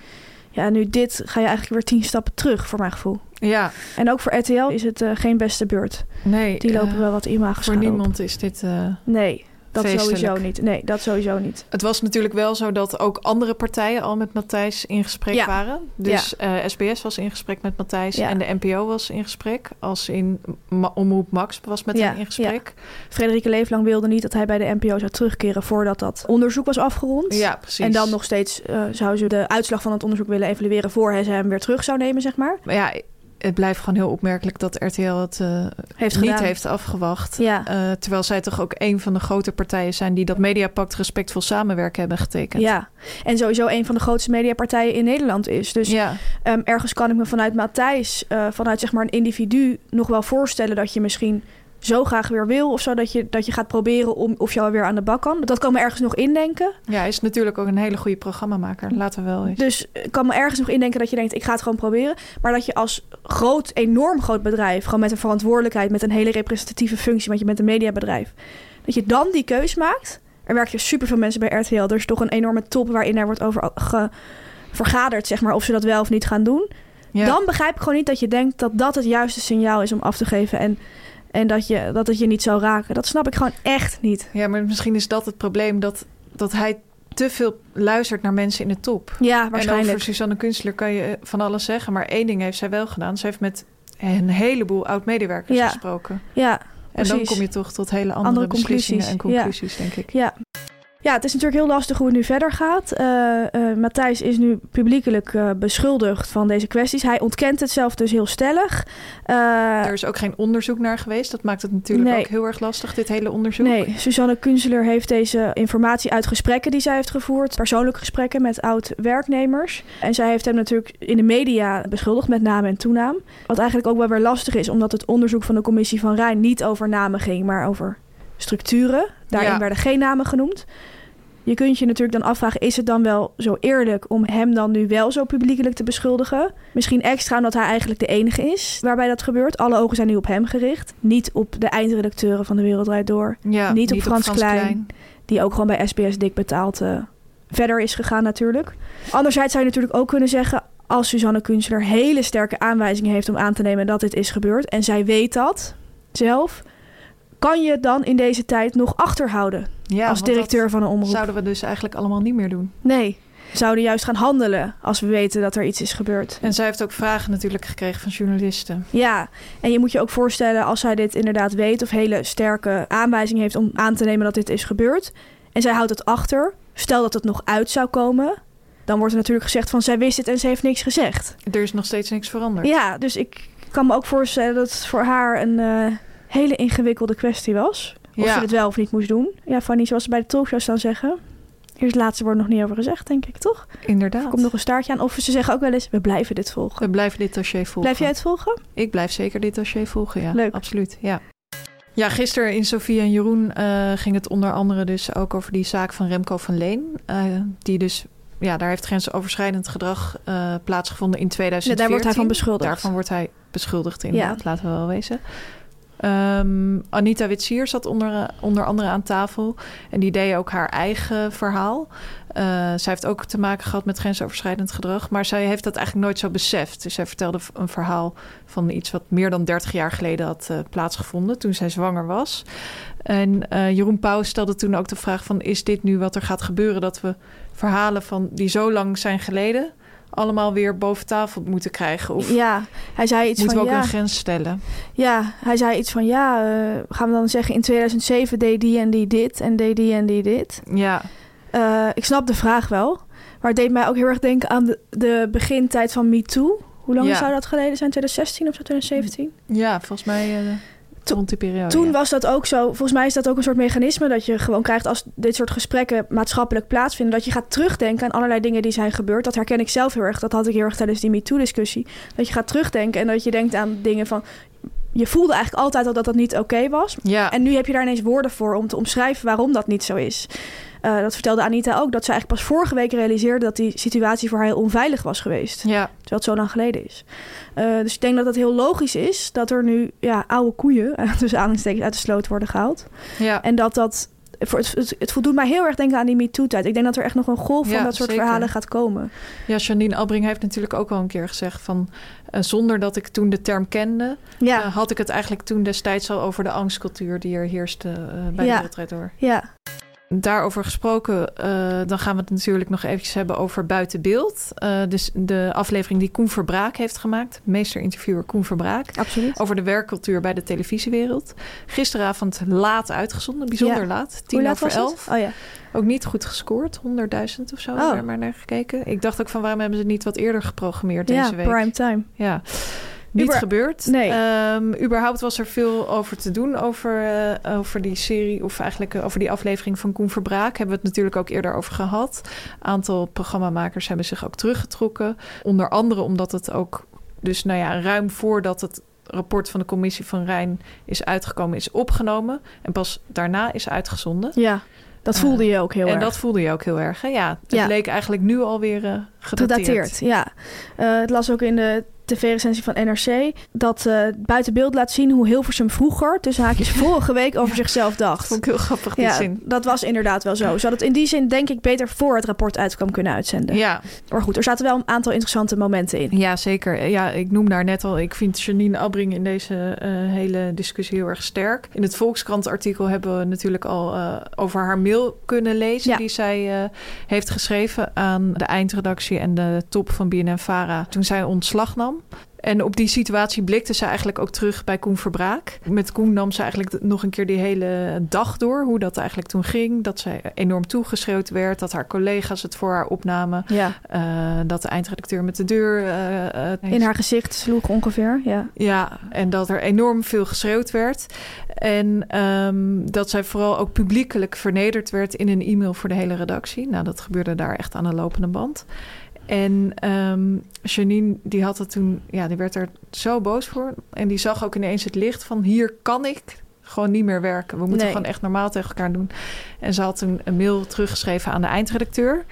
Ja, nu dit ga je eigenlijk weer tien stappen terug, voor mijn gevoel. ja. En ook voor RTL is het eh, geen beste beurt. nee. Die eh, lopen wel wat imago voor niemand is dit eh, Nee, Dat Feestelijk. sowieso niet. Nee, dat sowieso niet. Het was natuurlijk wel zo dat ook andere partijen al met Matthijs in gesprek Ja. waren. Dus eh, SBS was in gesprek met Matthijs Ja. en de NPO was in gesprek. Als in Ma- Omroep Max was met Ja, hem in gesprek. Frederike Leeflang wilde niet dat hij bij de NPO zou terugkeren voordat dat onderzoek was afgerond. Ja, precies. En dan nog steeds eh, zou ze de uitslag van het onderzoek willen evalueren voor hij ze hem weer terug zou nemen, zeg maar. Maar ja, het blijft gewoon heel opmerkelijk dat RTL het eh, Heeft niet gedaan. heeft afgewacht. Ja. Eh, terwijl zij toch ook een van de grote partijen zijn die dat Mediapact respectvol samenwerken hebben getekend. Ja, en sowieso een van de grootste mediapartijen in Nederland is. Dus Ja. ehm, ergens kan ik me vanuit Matthijs, eh, vanuit zeg maar een individu, nog wel voorstellen dat je misschien zo graag weer wil of zo, dat je, dat je gaat proberen om of je alweer aan de bak kan. Dat kan me ergens nog indenken. ja, hij is natuurlijk ook een hele goede programmamaker. Laten we wel eens. Dus eh, kan me ergens nog indenken dat je denkt, ik ga het gewoon proberen. Maar dat je als groot, enorm groot bedrijf, gewoon met een verantwoordelijkheid, met een hele representatieve functie, want je bent een mediabedrijf, dat je dan die keus maakt. Er werken superveel mensen bij RTL. Er is toch een enorme top waarin daar wordt over ge- vergaderd, zeg maar, of ze dat wel of niet gaan doen. Ja. Dan begrijp ik gewoon niet dat je denkt dat dat het juiste signaal is om af te geven en, en dat, je, dat het je niet zou raken. Dat snap ik gewoon echt niet. Ja, maar misschien is dat het probleem dat, dat hij te veel luistert naar mensen in de top. Ja, En waarschijnlijk. over Suzanne Kunstler kan je eh, van alles zeggen. Maar één ding heeft zij wel gedaan. Ze heeft met een heleboel oud-medewerkers Ja. gesproken. Ja, En precies. dan kom je toch tot hele andere, Andere beslissingen en conclusies, ja. conclusies, denk ik. Ja. Ja, het is natuurlijk heel lastig hoe het nu verder gaat. Eh, eh, Matthijs is nu publiekelijk eh, beschuldigd van deze kwesties. Hij ontkent het zelf dus heel stellig. Eh, Er is ook geen onderzoek naar geweest. Dat maakt het natuurlijk Nee. ook heel erg lastig, dit hele onderzoek. nee, Suzanne Kunzeler heeft deze informatie uit gesprekken die zij heeft gevoerd. Persoonlijke gesprekken met oud-werknemers. En zij heeft hem natuurlijk in de media beschuldigd met naam en toenaam. Wat eigenlijk ook wel weer lastig is, omdat het onderzoek van de commissie van Rijn niet over namen ging, maar over structuren. Daarin Ja. werden geen namen genoemd. Je kunt je natuurlijk dan afvragen, is het dan wel zo eerlijk om hem dan nu wel zo publiekelijk te beschuldigen? Misschien extra omdat hij eigenlijk de enige is waarbij dat gebeurt. Alle ogen zijn nu op hem gericht. Niet op de eindredacteuren van De Wereld Draait Door. Ja, Niet op Frans Klein. Die ook gewoon bij SBS dik betaald eh, verder is gegaan natuurlijk. Anderzijds zou je natuurlijk ook kunnen zeggen... als Suzanne Kunstler hele sterke aanwijzingen heeft om aan te nemen dat dit is gebeurd... en zij weet dat zelf... kan je het dan in deze tijd nog achterhouden Ja, als want dat directeur van een omroep? Zouden we dus eigenlijk allemaal niet meer doen. Nee, we zouden juist gaan handelen als we weten dat er iets is gebeurd. En zij heeft ook vragen natuurlijk gekregen van journalisten. Ja, en je moet je ook voorstellen als zij dit inderdaad weet of hele sterke aanwijzing heeft om aan te nemen dat dit is gebeurd. En zij houdt het achter. Stel dat het nog uit zou komen. Dan wordt er natuurlijk gezegd van zij wist het en ze heeft niks gezegd. Er is nog steeds niks veranderd. Ja, dus ik kan me ook voorstellen dat het voor haar een eh, hele ingewikkelde kwestie was. Of Ja. ze het wel of niet moest doen. Ja, Fanny, zoals ze bij de talkshows dan zeggen. Hier is het laatste woord nog niet over gezegd, denk ik, toch? Inderdaad. Er komt nog een staartje aan. Of ze zeggen ook wel eens, we blijven dit volgen. We blijven dit dossier volgen. Blijf jij het volgen? Ik blijf zeker dit dossier volgen, ja. Leuk. Absoluut, ja. Ja, gisteren in Sofie en Jeroen eh, ging het onder andere dus ook over die zaak van Remco van Leen. eh, die dus, ja, daar heeft grensoverschrijdend gedrag eh, plaatsgevonden in 2014. daar wordt hij van beschuldigd. Daarvan wordt hij beschuldigd, inderdaad, laten we wel wezen. Ehm, Anita Witsier zat onder, eh, onder andere aan tafel en die deed ook haar eigen verhaal. Eh, zij heeft ook te maken gehad met grensoverschrijdend gedrag, maar zij heeft dat eigenlijk nooit zo beseft. Dus zij vertelde v- een verhaal van iets wat meer dan 30 jaar geleden had eh, plaatsgevonden, toen zij zwanger was. En eh, Jeroen Pauw stelde toen ook de vraag van, is dit nu wat er gaat gebeuren? Dat we verhalen van die zo lang zijn geleden allemaal weer boven tafel moeten krijgen? Of Ja, hij zei iets moeten we van ook ja. een grens stellen? Ja, hij zei iets van ja, eh, gaan we dan zeggen in 2007 deed die en die dit en deed die en die dit. Ja, Eh, ik snap de vraag wel, maar het deed mij ook heel erg denken aan de, de begintijd van MeToo. Hoe lang Ja. zou dat geleden zijn? 2016 of zo, 2017? ja volgens mij eh To- rond die periode. Toen Oh, ja. was dat ook zo. Volgens mij is dat ook een soort mechanisme dat je gewoon krijgt als dit soort gesprekken maatschappelijk plaatsvinden. Dat je gaat terugdenken aan allerlei dingen die zijn gebeurd. Dat herken ik zelf heel erg. Dat had ik heel erg tijdens die MeToo-discussie. Dat je gaat terugdenken en dat je denkt aan dingen van. Je voelde eigenlijk altijd al dat dat niet oké was. Ja, En nu heb je daar ineens woorden voor om te omschrijven waarom dat niet zo is. Eh, dat vertelde Anita ook, dat ze eigenlijk pas vorige week realiseerde dat die situatie voor haar heel onveilig was geweest. ja. Terwijl het zo lang geleden is. Eh, dus ik denk dat dat heel logisch is *laughs* dat er nu ja, oude koeien, tussen aanhalingstekens, uit de sloot worden gehaald. ja. En dat dat eh, voor- het, het, het voldoet mij heel erg denken aan die MeToo-tijd. Ik denk dat er echt nog een golf van Ja, dat soort zeker. verhalen gaat komen. Ja, Janine Albring heeft natuurlijk ook al een keer gezegd van... eh, zonder dat ik toen de term kende, Ja, eh, had ik het eigenlijk toen destijds al over de angstcultuur die er heerste eh, bij Ja. de wereldrijdor. ja, Daarover gesproken, eh, dan gaan we het natuurlijk nog eventjes hebben over Buiten Beeld. Eh, dus de aflevering die Koen Verbraak heeft gemaakt, meester-interviewer Koen Verbraak. absoluut. Over de werkcultuur bij de televisiewereld. Gisteravond laat uitgezonden, bijzonder Ja. laat. Tien Hoe laat over was elf. het? Oh ja. Ook niet goed gescoord, 100.000 of zo. hebben we er maar naar gekeken. Ik dacht ook van waarom hebben ze het niet wat eerder geprogrammeerd Ja, deze week? prime time. Ja. Niet Uber- gebeurd. Nee. Ehm, überhaupt was er veel over te doen over, eh, over die serie... of eigenlijk eh, over die aflevering van Koen Verbraak. Hebben we het natuurlijk ook eerder over gehad. aantal programmamakers hebben zich ook teruggetrokken. Onder andere omdat het ook... dus nou ja, ruim voordat het rapport van de commissie van Rijn is uitgekomen... is opgenomen en pas daarna is uitgezonden. Ja, dat voelde je ook heel en erg. dat voelde je ook heel erg, hè? Ja, het Ja. leek eigenlijk nu alweer eh gedateerd. gedateerd. Ja, Eh het las ook in de tv-recensie van NRC dat eh buiten beeld laat zien hoe Hilversum vroeger, tussen *laughs* haakjes vorige week, over zichzelf Dat dacht. vond ik heel grappig, die ja, zin. dat was inderdaad wel zo. Ze hadden het in die zin denk ik beter voor het rapport uitkwam kunnen uitzenden. Ja, Maar goed, er zaten wel een aantal interessante momenten in. Ja, zeker. Ja, ik noem daar net al. Ik vind Janine Abbring in deze eh, hele discussie heel erg sterk. In het Volkskrant-artikel hebben we natuurlijk al eh, over haar mail kunnen lezen. Ja. Die zij eh, heeft geschreven aan de eindredactie en de top van BNN-Vara. Toen zij ontslag nam. En op die situatie blikte ze eigenlijk ook terug bij Koen Verbraak. Met Koen nam ze eigenlijk d- nog een keer die hele dag door. Hoe dat eigenlijk toen ging. Dat zij enorm toegeschreeuwd werd. Dat haar collega's het voor haar opnamen. Ja, Eh, dat de eindredacteur met de deur. eh, eh, in haar gezicht sloeg ongeveer. Ja, Ja, en dat er enorm veel geschreeuwd werd. En ehm, dat zij vooral ook publiekelijk vernederd werd in een e-mail voor de hele redactie. Nou, dat gebeurde daar echt aan de lopende band. En ehm, Janine, die had het toen, ja, die werd er zo boos voor. En die zag ook ineens het licht van: hier kan ik gewoon niet meer werken. We moeten Nee. gewoon echt normaal tegen elkaar doen. En ze had toen een mail teruggeschreven aan de eindredacteur.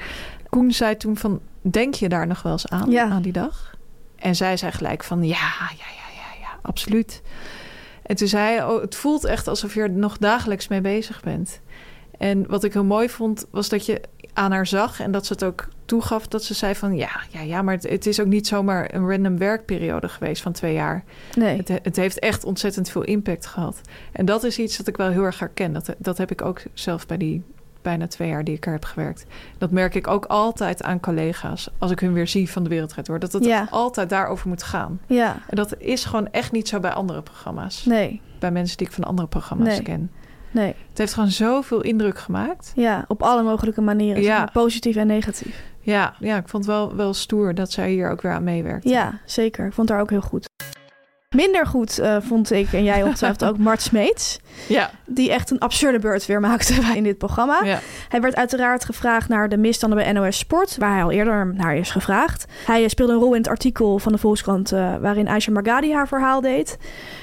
Koen zei toen van, denk je daar nog wel eens aan, Ja. aan die dag? En zij zei gelijk van, ja, ja, ja, ja, ja, absoluut. En toen zei hij, oh, het voelt echt alsof je er nog dagelijks mee bezig bent. En wat ik heel mooi vond, was dat je aan haar zag en dat ze het ook toegaf dat ze zei van ja, ja, ja, maar het, het is ook niet zomaar een random werkperiode geweest van twee jaar. nee. Het, het heeft echt ontzettend veel impact gehad. En dat is iets dat ik wel heel erg herken. Dat, dat heb ik ook zelf bij die bijna twee jaar die ik er heb gewerkt. Dat merk ik ook altijd aan collega's als ik hun weer zie van de wereldrijd hoor. Dat het Ja. altijd daarover moet gaan. Ja, En dat is gewoon echt niet zo bij andere programma's. nee, Bij mensen die ik van andere programma's Nee. ken. nee. Het heeft gewoon zoveel indruk gemaakt. Ja, op alle mogelijke manieren. zeg Ja. maar, Positief en negatief. Ja, ja ik vond het wel, wel stoer dat zij hier ook weer aan meewerkt. Ja, zeker. Ik vond haar ook heel goed. Minder goed eh, vond ik, en jij ongetwijfeld *laughs* ook, Mart Smeets. Ja, die echt een absurde beurt weer *laughs* maakte in dit programma. ja. Hij werd uiteraard gevraagd naar de misstanden bij NOS Sport, waar hij al eerder naar is gevraagd. Hij eh, speelde een rol in het artikel van de Volkskrant eh, waarin Aisha Margadi haar verhaal deed.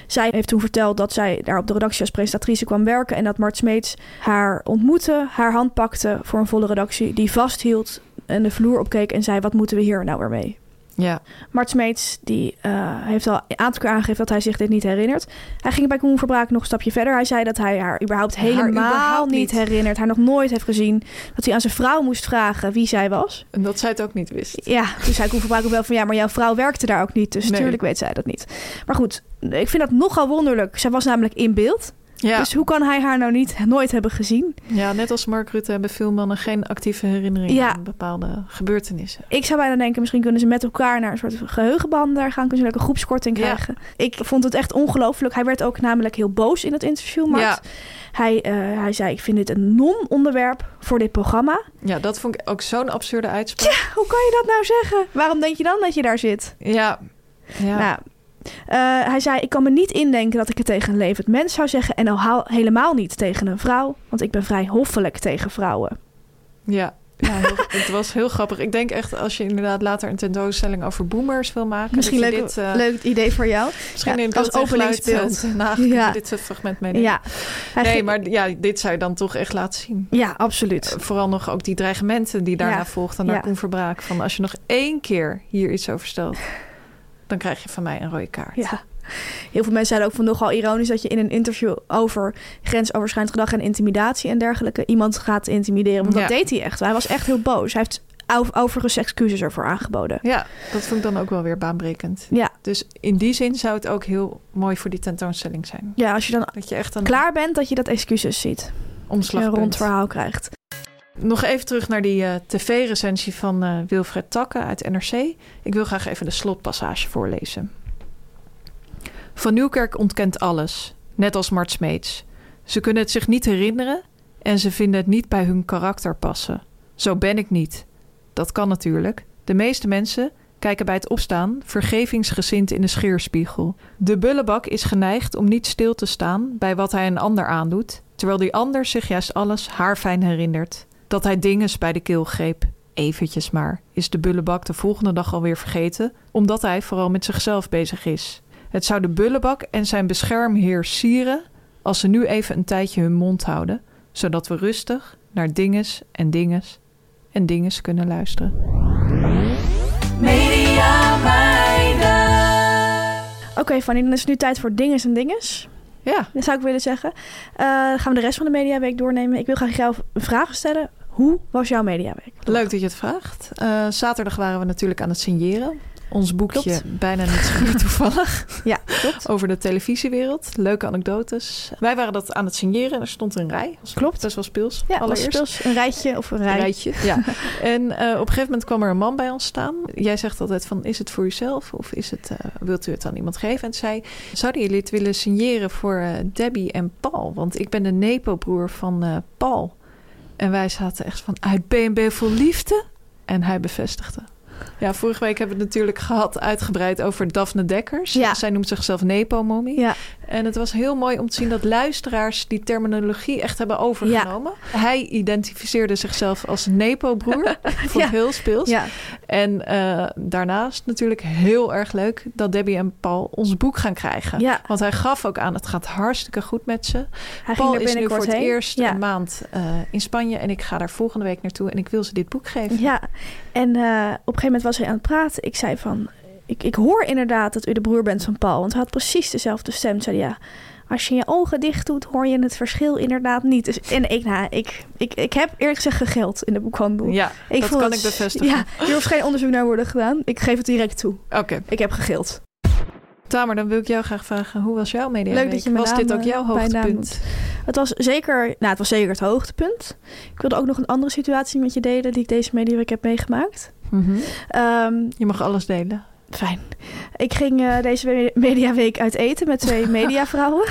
Zij heeft toen verteld dat zij daar op de redactie als presentatrice kwam werken en dat Mart Smeets haar ontmoette, haar hand pakte voor een volle redactie, die vasthield en de vloer opkeek en zei wat moeten we hier nou weer mee? ja. Mart Smeets die, eh, heeft al een aantal keer aangegeven dat hij zich dit niet herinnert. Hij ging bij Koen Verbraak nog een stapje verder. Hij zei dat hij haar überhaupt Haar helemaal überhaupt niet niet. herinnert. Haar nog nooit heeft gezien. Dat hij aan zijn vrouw moest vragen wie zij was. En dat zij het ook niet wist. Ja, toen zei Koen Verbraak ook wel van... ja, maar jouw vrouw werkte daar ook niet. Dus Nee. natuurlijk weet zij dat niet. Maar goed, ik vind dat nogal wonderlijk. Zij was namelijk in beeld. Ja. Dus hoe kan hij haar nou niet nooit hebben gezien? ja, net als Mark Rutte hebben veel mannen geen actieve herinneringen Ja. aan bepaalde gebeurtenissen. Ik zou bijna denken, misschien kunnen ze met elkaar naar een soort geheugenbehandelaar gaan. Kunnen ze lekker groepskorting Ja. krijgen. Ik vond het echt ongelooflijk. Hij werd ook namelijk heel boos in dat interview. Maar Ja. hij, eh, hij zei, ik vind dit een non-onderwerp voor dit programma. *laughs* Ja, dat vond ik ook zo'n absurde uitspraak. Hoe kan je dat nou zeggen? Waarom denk je dan dat je daar zit? Ja. Ja. Nou, eh, hij zei, ik kan me niet indenken dat ik het tegen een levend mens zou zeggen. En al haal- helemaal niet tegen een vrouw. Want ik ben vrij hoffelijk tegen vrouwen. ja. Ja, heel- het was heel grappig. Ik denk echt als je inderdaad later een tentoonstelling over boomers wil maken. Misschien dat je leuk, dit, eh, leuk idee voor jou. Misschien Ja, in als beeld en geluid, openingsbeeld. eh, nagekeken, Ja. dit soort fragment meenemen. Ja, Hij Nee, ging- maar ja, dit zou je dan toch echt laten zien. ja absoluut. Vooral nog ook die dreigementen die daarna Ja, volgden naar ja. Koen Verbraak. Van als je nog één keer hier iets over stelt, dan krijg je van mij een rode kaart. Ja. Heel veel mensen zeiden ook van nogal ironisch dat je in een interview over grensoverschrijdend gedrag en intimidatie en dergelijke iemand gaat intimideren. Want dat Ja. deed hij echt. Hij was echt heel boos. Hij heeft au- overigens excuses ervoor aangeboden. Ja, dat vond ik dan ook wel weer baanbrekend. Ja. Dus in die zin zou het ook heel mooi voor die tentoonstelling zijn. Ja, als je dan Dat je echt een klaar bent, dat je dat excuses ziet. Je een omslagpunt. rond verhaal krijgt. Nog even terug naar die eh, tv-recensie van eh, Wilfred Takke uit NRC. Ik wil graag even de slotpassage voorlezen. Van Nieuwkerk ontkent alles, net als Mart Smeets. Ze kunnen het zich niet herinneren en ze vinden het niet bij hun karakter passen. Zo ben ik niet. Dat kan natuurlijk. De meeste mensen kijken bij het opstaan vergevingsgezind in de scheerspiegel. De bullebak is geneigd om niet stil te staan bij wat hij een ander aandoet, terwijl die ander zich juist alles haarfijn herinnert. Dat hij dinges bij de keel greep, eventjes maar, is de bullebak de volgende dag alweer vergeten, omdat hij vooral met zichzelf bezig is. Het zou de bullebak en zijn beschermheer sieren als ze nu even een tijdje hun mond houden, zodat we rustig naar dinges en dinges en dinges kunnen luisteren. Oké, Fanny, dan is het nu tijd voor dinges en dinges. Ja, Dat zou ik willen zeggen. Eh, gaan we de rest van de mediaweek doornemen. Ik wil graag jou een vraag stellen. Hoe was jouw mediaweek? leuk dat je het vraagt. Eh, zaterdag waren we natuurlijk aan het signeren. Ons boekje Bijna Niets Gebeurt Toevallig Ja, klopt. over de televisiewereld. Leuke anekdotes. Wij waren dat aan het signeren en er stond een rij. Klopt. Best wel speels. Ja, was Allereerst. speels een rijtje of een rij. rijtje. Ja. *laughs* en eh, op een gegeven moment kwam er een man bij ons staan. Jij zegt altijd van, is het voor uzelf of is het, eh, wilt u het aan iemand geven? En zei, zouden jullie het willen signeren voor eh, Debbie en Paul? Want ik ben de nepo-broer van eh, Paul. En wij zaten echt van, uit BNB voor liefde? En hij bevestigde. Ja, vorige week hebben we het natuurlijk gehad uitgebreid over Daphne Dekkers. Ja. Zij noemt zichzelf Nepo-mommy. Ja, En het was heel mooi om te zien dat luisteraars die terminologie echt hebben overgenomen. Hij identificeerde zichzelf als Nepo-broer. *laughs* Vond Ja. ik heel speels. ja. En eh, daarnaast natuurlijk heel erg leuk dat Debbie en Paul ons boek gaan krijgen. Ja. Want hij gaf ook aan, het gaat hartstikke goed met ze. Hij Paul ging er is nu voor binnenkort het heen. eerst ja. een maand eh, in Spanje. En ik ga daar volgende week naartoe en ik wil ze dit boek geven. Ja, en eh, op een gegeven moment was hij aan het praten. Ik zei van, ik, ik hoor inderdaad dat u de broer bent van Paul. Want hij had precies dezelfde stem. Zei hij, ja, als je je ogen dicht doet, hoor je het verschil inderdaad niet. Dus, en ik, nou, ik, ik, ik heb eerlijk gezegd gegeld in de boekhandel. Ja, ik dat vond kan het- ik bevestigen. Ja, er hoeft geen onderzoek naar worden gedaan. Ik geef het direct toe. Oké, Ik heb gegild. Tamer, dan wil ik jou graag vragen, hoe was jouw media? Leuk dat je mijn Was dit naam, ook eh, jouw bij naam hoogtepunt? Het was zeker, nou, het was zeker het hoogtepunt. Ik wilde ook nog een andere situatie met je delen die ik deze mediaweek heb meegemaakt. Mhm. Ehm, Je mag alles delen. fijn. Ik ging eh, deze we- mediaweek uit eten met *laughs* twee mediavrouwen.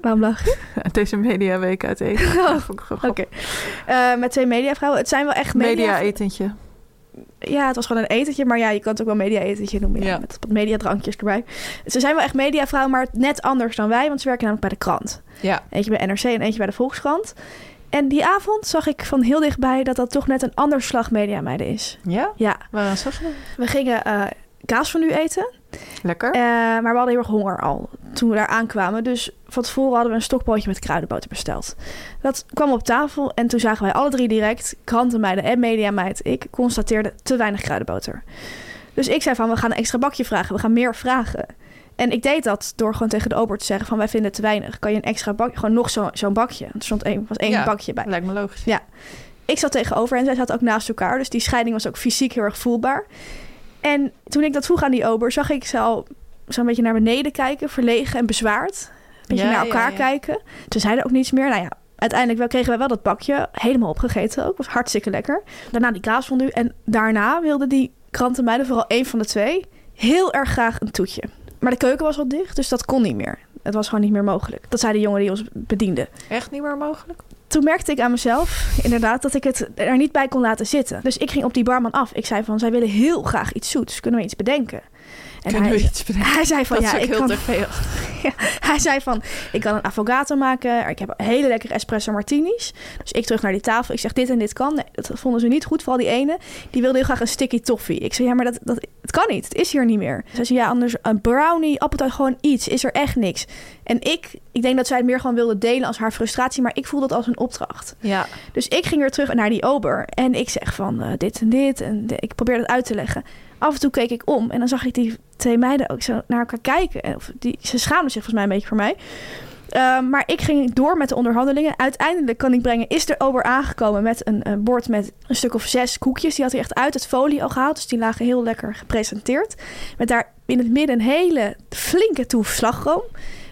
Waarom lach je? *laughs* Deze mediaweek uit eten. Oh, Ja, vond ik gewoon Oké. grappig. Eh, met twee mediavrouwen. Het zijn wel echt media. Media-etentje. Ja, het was gewoon een etentje, maar ja, je kan het ook wel media-etentje noemen. Ja, Ja. Met wat mediadrankjes erbij. Ze zijn wel echt mediavrouwen, maar net anders dan wij, want ze werken namelijk bij de krant. Ja. Eentje bij NRC en eentje bij de Volkskrant. En die avond zag ik van heel dichtbij dat dat toch net een ander slag media meiden is. Ja? Ja, Waaraan zag je dat? we gingen eh kaas van nu eten, Lekker. eh, maar we hadden heel erg honger al toen we daar aankwamen. Dus van tevoren hadden we een stokbroodje met kruidenboter besteld. Dat kwam op tafel en toen zagen wij alle drie direct, krantenmeiden en mediameid, ik constateerde te weinig kruidenboter. Dus ik zei van, we gaan een extra bakje vragen, we gaan meer vragen. En ik deed dat door gewoon tegen de ober te zeggen van, wij vinden het te weinig. Kan je een extra bakje, gewoon nog zo- zo'n bakje. Er stond één, was één Ja. bakje bij. Lijkt me logisch. ik zat tegenover en zij zat ook naast elkaar. Dus die scheiding was ook fysiek heel erg voelbaar. En toen ik dat vroeg aan die ober, zag ik ze al zo'n beetje naar beneden kijken, verlegen en bezwaard. Een beetje Ja, naar ja, elkaar ja. kijken. Toen zei er ook niets meer. Nou ja, uiteindelijk wel, kregen wij wel dat bakje helemaal opgegeten ook. Was hartstikke lekker. Daarna die kaasfondue. En daarna wilden die krantenmeiden, vooral één van de twee, heel erg graag een toetje. Maar de keuken was al dicht, dus dat kon niet meer. Het was gewoon niet meer mogelijk. Dat zei de jongen die ons bediende Echt niet meer mogelijk? toen merkte ik aan mezelf inderdaad dat ik het er niet bij kon laten zitten. Dus ik ging op die barman af. Ik zei van, zij willen heel graag iets zoets. Kunnen we iets bedenken? En Kunnen hij, we iets bedenken? *laughs* hij zei van, dat ja, is ook ik heel kan, tv. *laughs* hij zei van, ik kan een avocado maken. Ik heb hele lekkere espresso martinis. Dus ik terug naar die tafel. Ik zeg, dit en dit kan. Nee, dat vonden ze niet goed. Vooral die ene, die wilde heel graag een sticky toffee. Ik zei, ja, maar dat, dat het kan niet. Het is hier niet meer. Zij zei, ja, anders een brownie, appeltaart, gewoon iets. Is er echt niks. En ik, ik denk dat zij het meer gewoon wilde delen als haar frustratie. Maar ik voelde dat als een opdracht. Ja. Dus ik ging weer terug naar die ober. En ik zeg van eh, dit en dit. En de- ik probeer dat uit te leggen. af en toe keek ik om en dan zag ik die twee meiden ook zo naar elkaar kijken. En Of die, ze schaamden zich volgens mij een beetje voor mij. Eh, maar ik ging door met de onderhandelingen. Uiteindelijk kan ik brengen, is de ober aangekomen met een eh, bord met een stuk of zes koekjes. Die had hij echt uit het folie al gehaald. Dus die lagen heel lekker gepresenteerd. Met daar in het midden een hele flinke toef slagroom.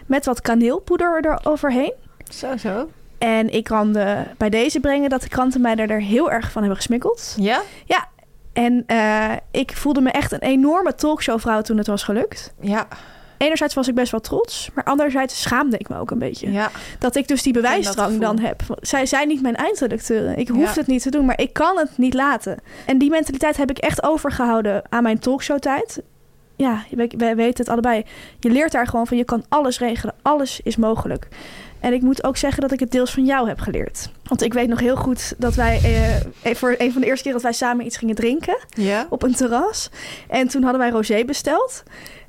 Met wat kaneelpoeder eroverheen. Zo, zo. En ik kan de, bij deze brengen dat de krantenmeiden er heel erg van hebben gesmikkeld. Ja? En eh, ik voelde me echt een enorme talkshowvrouw toen het was gelukt. Ja. Enerzijds was ik best wel trots, maar anderzijds schaamde ik me ook een beetje. Ja. Dat ik dus die bewijsdrang gevoel. dan heb. Zij zijn niet mijn eindredacteuren. Ik hoef Ja. het niet te doen, maar ik kan het niet laten. En die mentaliteit heb ik echt overgehouden aan mijn talkshowtijd. Ja, we, we weten het allebei. Je leert daar gewoon van, je kan alles regelen. Alles is mogelijk. En ik moet ook zeggen dat ik het deels van jou heb geleerd. Want ik weet nog heel goed dat wij... eh, voor een van de eerste keer dat wij samen iets gingen drinken Ja. op een terras. En toen hadden wij rosé besteld.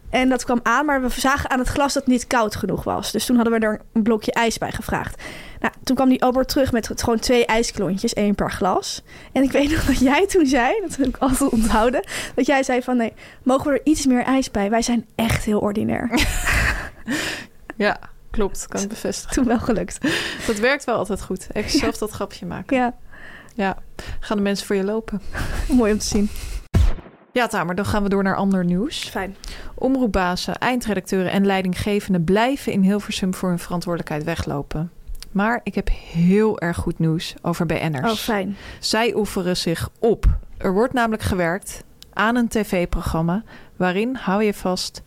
En dat kwam aan, maar we zagen aan het glas dat het niet koud genoeg was. Dus toen hadden we er een blokje ijs bij gevraagd. Nou, toen kwam die ober terug met het- gewoon twee ijsklontjes, één per glas. En ik weet nog dat jij toen zei, dat heb ik altijd onthouden... dat jij zei van, nee, mogen we er iets meer ijs bij? Wij zijn echt heel *laughs* ordinair. Ja, klopt. Kan ik bevestigen. Toen wel gelukt. Dat werkt wel altijd goed. Even zelf dat grapje maken. Ja, Gaan de mensen voor je lopen. mooi om te zien. Ja, Tamer, dan gaan we door naar ander nieuws. Fijn. Omroepbazen, eindredacteuren en leidinggevenden blijven in Hilversum voor hun verantwoordelijkheid weglopen. Maar ik heb heel erg goed nieuws over BN'ers. Oh, fijn. Zij oeferen zich op. Er wordt namelijk gewerkt aan een tv-programma waarin, hou je vast,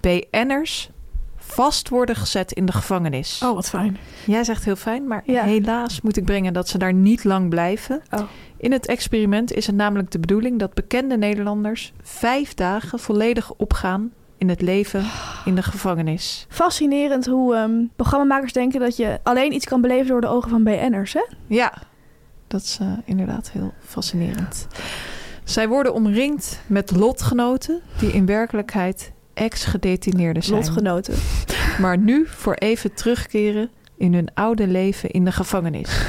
BN'ers vast worden gezet in de gevangenis. Oh, wat fijn. Jij zegt heel fijn, maar Ja. helaas moet ik brengen dat ze daar niet lang blijven. Oh. In het experiment is het namelijk de bedoeling dat bekende Nederlanders vijf dagen volledig opgaan in het leven in de gevangenis. Fascinerend hoe ehm, programmamakers denken dat je alleen iets kan beleven door de ogen van BN'ers, hè? Ja, dat is eh, inderdaad heel fascinerend. Zij worden omringd met lotgenoten die in werkelijkheid ex-gedetineerden zijn. Lotgenoten. maar nu voor even terugkeren in hun oude leven in de gevangenis.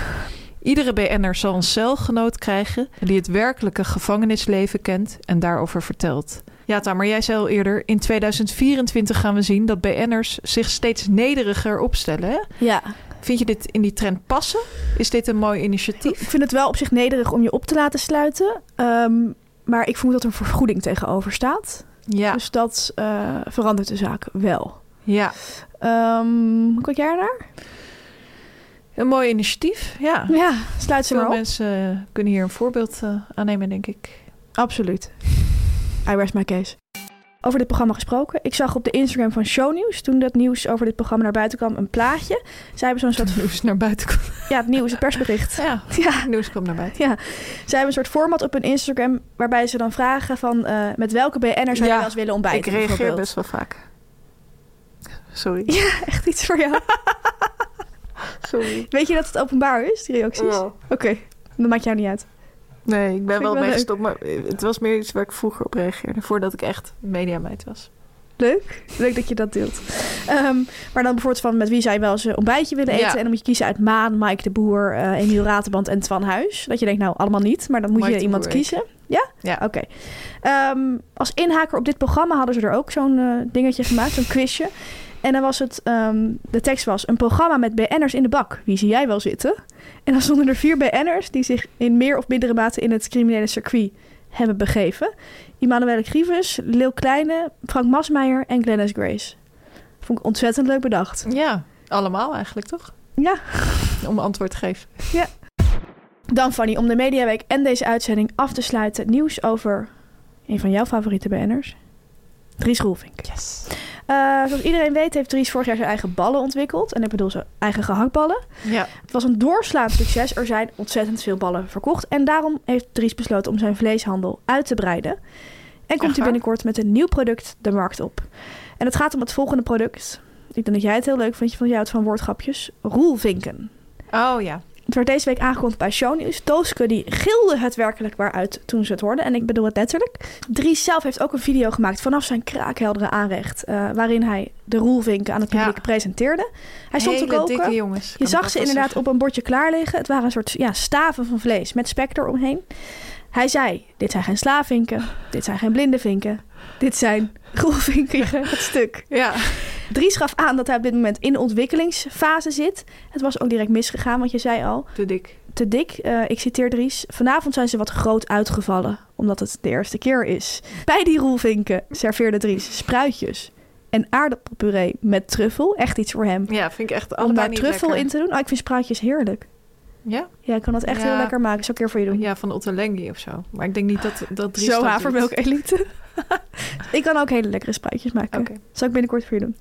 Iedere BN'er zal een celgenoot krijgen die het werkelijke gevangenisleven kent en daarover vertelt. Ja, Tamer, jij zei al eerder, in 2024 gaan we zien dat BN'ers zich steeds nederiger opstellen. Hè? Ja, Vind je dit in die trend passen? Is dit een mooi initiatief? Ik vind het wel op zich nederig om je op te laten sluiten. Ehm, maar ik vermoed dat er een vergoeding tegenover staat. Ja, Dus dat eh, verandert de zaak wel. ja. Ehm hoe kijk jij naar? een mooi initiatief. Ja. Ja, sluit ze Veel maar op. mensen eh, kunnen hier een voorbeeld eh, aan nemen, denk ik. Absoluut. I rest my case. Over dit programma gesproken. Ik zag op de Instagram van Shownieuws, toen dat nieuws over dit programma naar buiten kwam, een plaatje. Zij hebben *laughs* zo'n soort... Dus nieuws naar buiten komt. Ja, het nieuws, het persbericht. *laughs* Ja, Ja, nieuws komt naar buiten. zij hebben een soort format op hun Instagram waarbij ze dan vragen van eh, met welke BN'er zou je Ja, wel eens willen ontbijten. bijvoorbeeld. wel vaak. Sorry. Echt iets voor jou. Sorry. Weet je dat het openbaar is, die reacties? Oké, dat maakt jou niet uit. Nee, ik wel ben wel mee leuk. gestopt, maar het was meer iets waar ik vroeger op reageerde. Voordat ik echt mediameid was. Leuk. Leuk dat je dat deelt. Ehm, maar dan bijvoorbeeld van met wie zij wel eens een ontbijtje willen eten. Ja. En dan moet je kiezen uit Maan, Mike de Boer, eh Emiel Ratenband en Twan Huis. Dat je denkt, nou, allemaal niet. Maar dan moet Mike je de iemand Boer, ik. kiezen. Ja? Ja. Oké. Ehm, als inhaker op dit programma hadden ze er ook zo'n eh, dingetje gemaakt, zo'n quizje. En dan was het, ehm, de tekst was, een programma met BN'ers in de bak. Wie zie jij wel zitten? En dan stonden er vier BN'ers die zich in meer of mindere mate in het criminele circuit hebben begeven. Immanuele Grievers, Leeuw Kleine, Frank Masmeijer en Glennis Grace. Vond ik ontzettend leuk bedacht. Ja, allemaal eigenlijk toch? Ja. Om antwoord te geven. Dan Fanny, om de Mediaweek en deze uitzending af te sluiten... nieuws over een van jouw favoriete BN'ers, Dries Roelvink. Yes. Eh, zoals iedereen weet heeft Dries vorig jaar zijn eigen ballen ontwikkeld. En ik bedoel zijn eigen gehaktballen. Ja. Het was een doorslaand succes. Er zijn ontzettend veel ballen verkocht. En daarom heeft Dries besloten om zijn vleeshandel uit te breiden. En komt hij waar? binnenkort met een nieuw product de markt op. En het gaat om het volgende product. Ik denk dat jij het heel leuk vindt, want jij houdt van woordgrapjes. Roelvinken. Oh ja. Het werd deze week aangekondigd bij Shownieuws. Tooske die gilde het werkelijk maar uit toen ze het hoorden. En ik bedoel het letterlijk. Dries zelf heeft ook een video gemaakt vanaf zijn kraakheldere aanrecht. eh, waarin hij de roelvinken aan het publiek Ja. presenteerde. Hij stond Hele te koken. dikke jongens. Je kan ik zag ook ze wel inderdaad zeggen. op een bordje klaar liggen. Het waren een soort ja, staven van vlees met spek eromheen. Hij zei, dit zijn geen slavinken, dit zijn geen blinde vinken, dit zijn *laughs* *laughs* groelvinken. Het stuk. Ja. Dries gaf aan dat hij op dit moment in de ontwikkelingsfase zit. Het was ook direct misgegaan, want je zei al, Te dik. te dik. Eh, ik citeer Dries. Vanavond zijn ze wat groot uitgevallen, omdat het de eerste keer is. Bij die roelvinken serveerde Dries spruitjes en aardappelpuree met truffel. Echt iets voor hem. Ja, vind ik echt Om allebei daar niet truffel lekker. in te doen. Oh, ik vind spruitjes heerlijk. Ja? Ja, ik kan dat echt Ja. heel lekker maken. Zal ik een keer voor je doen. Ja, van Ottolenghi of zo. Maar ik denk niet dat dat drie Zo havermelk elite. *laughs* ik kan ook hele lekkere spruitjes maken. Oké. Zal ik binnenkort voor je doen.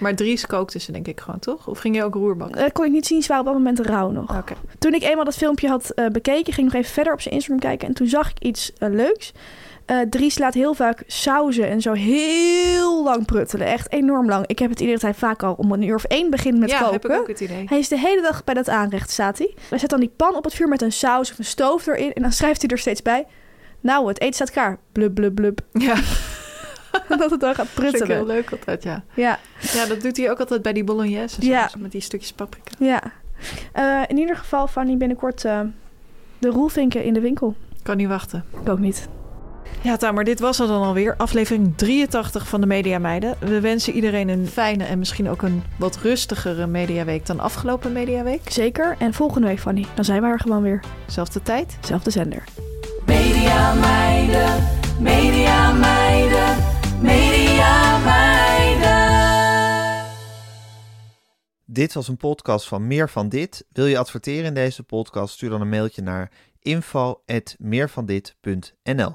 Maar Dries kookte ze denk ik gewoon, toch? Of ging je ook roerbakken? Dat Eh, kon ik niet zien, ze waren op dat moment rauw nog. Oké. Toen ik eenmaal dat filmpje had eh, bekeken, ging ik nog even verder op zijn Instagram kijken. En toen zag ik iets eh, leuks. Eh, Dries laat heel vaak sauzen en zo heel lang pruttelen. Echt enorm lang. Ik heb het idee dat hij vaak al om een uur of één begint met ja, koken. heb ik ook het idee. Hij is de hele dag bij dat aanrecht, staat hij. Hij zet dan die pan op het vuur met een saus of een stoof erin. En dan schrijft hij er steeds bij. Nou, het eten staat klaar. Blub, blub, blub. *laughs* *laughs* Ja, Dat het dan gaat vind ik heel pruttelen. leuk altijd, ja. Ja, Ja, dat doet hij ook altijd bij die bolognese. en zo, Ja. zo Met die stukjes paprika. ja. Eh, in ieder geval, Fanny, binnenkort eh, de roelvinken in de winkel. Kan niet wachten. Ik ook niet. Ja, Tamer, dit was het dan alweer. Aflevering 83 van de Media Meiden. We wensen iedereen een fijne en misschien ook een wat rustigere Mediaweek dan afgelopen Mediaweek. Zeker. En volgende week, Fanny, dan zijn we er gewoon weer. Zelfde tijd. Zelfde zender. Media meiden, media meiden, media meiden. Dit was een podcast van Meer van Dit. Wil je adverteren in deze podcast? Stuur dan een mailtje naar info.meervandit.nl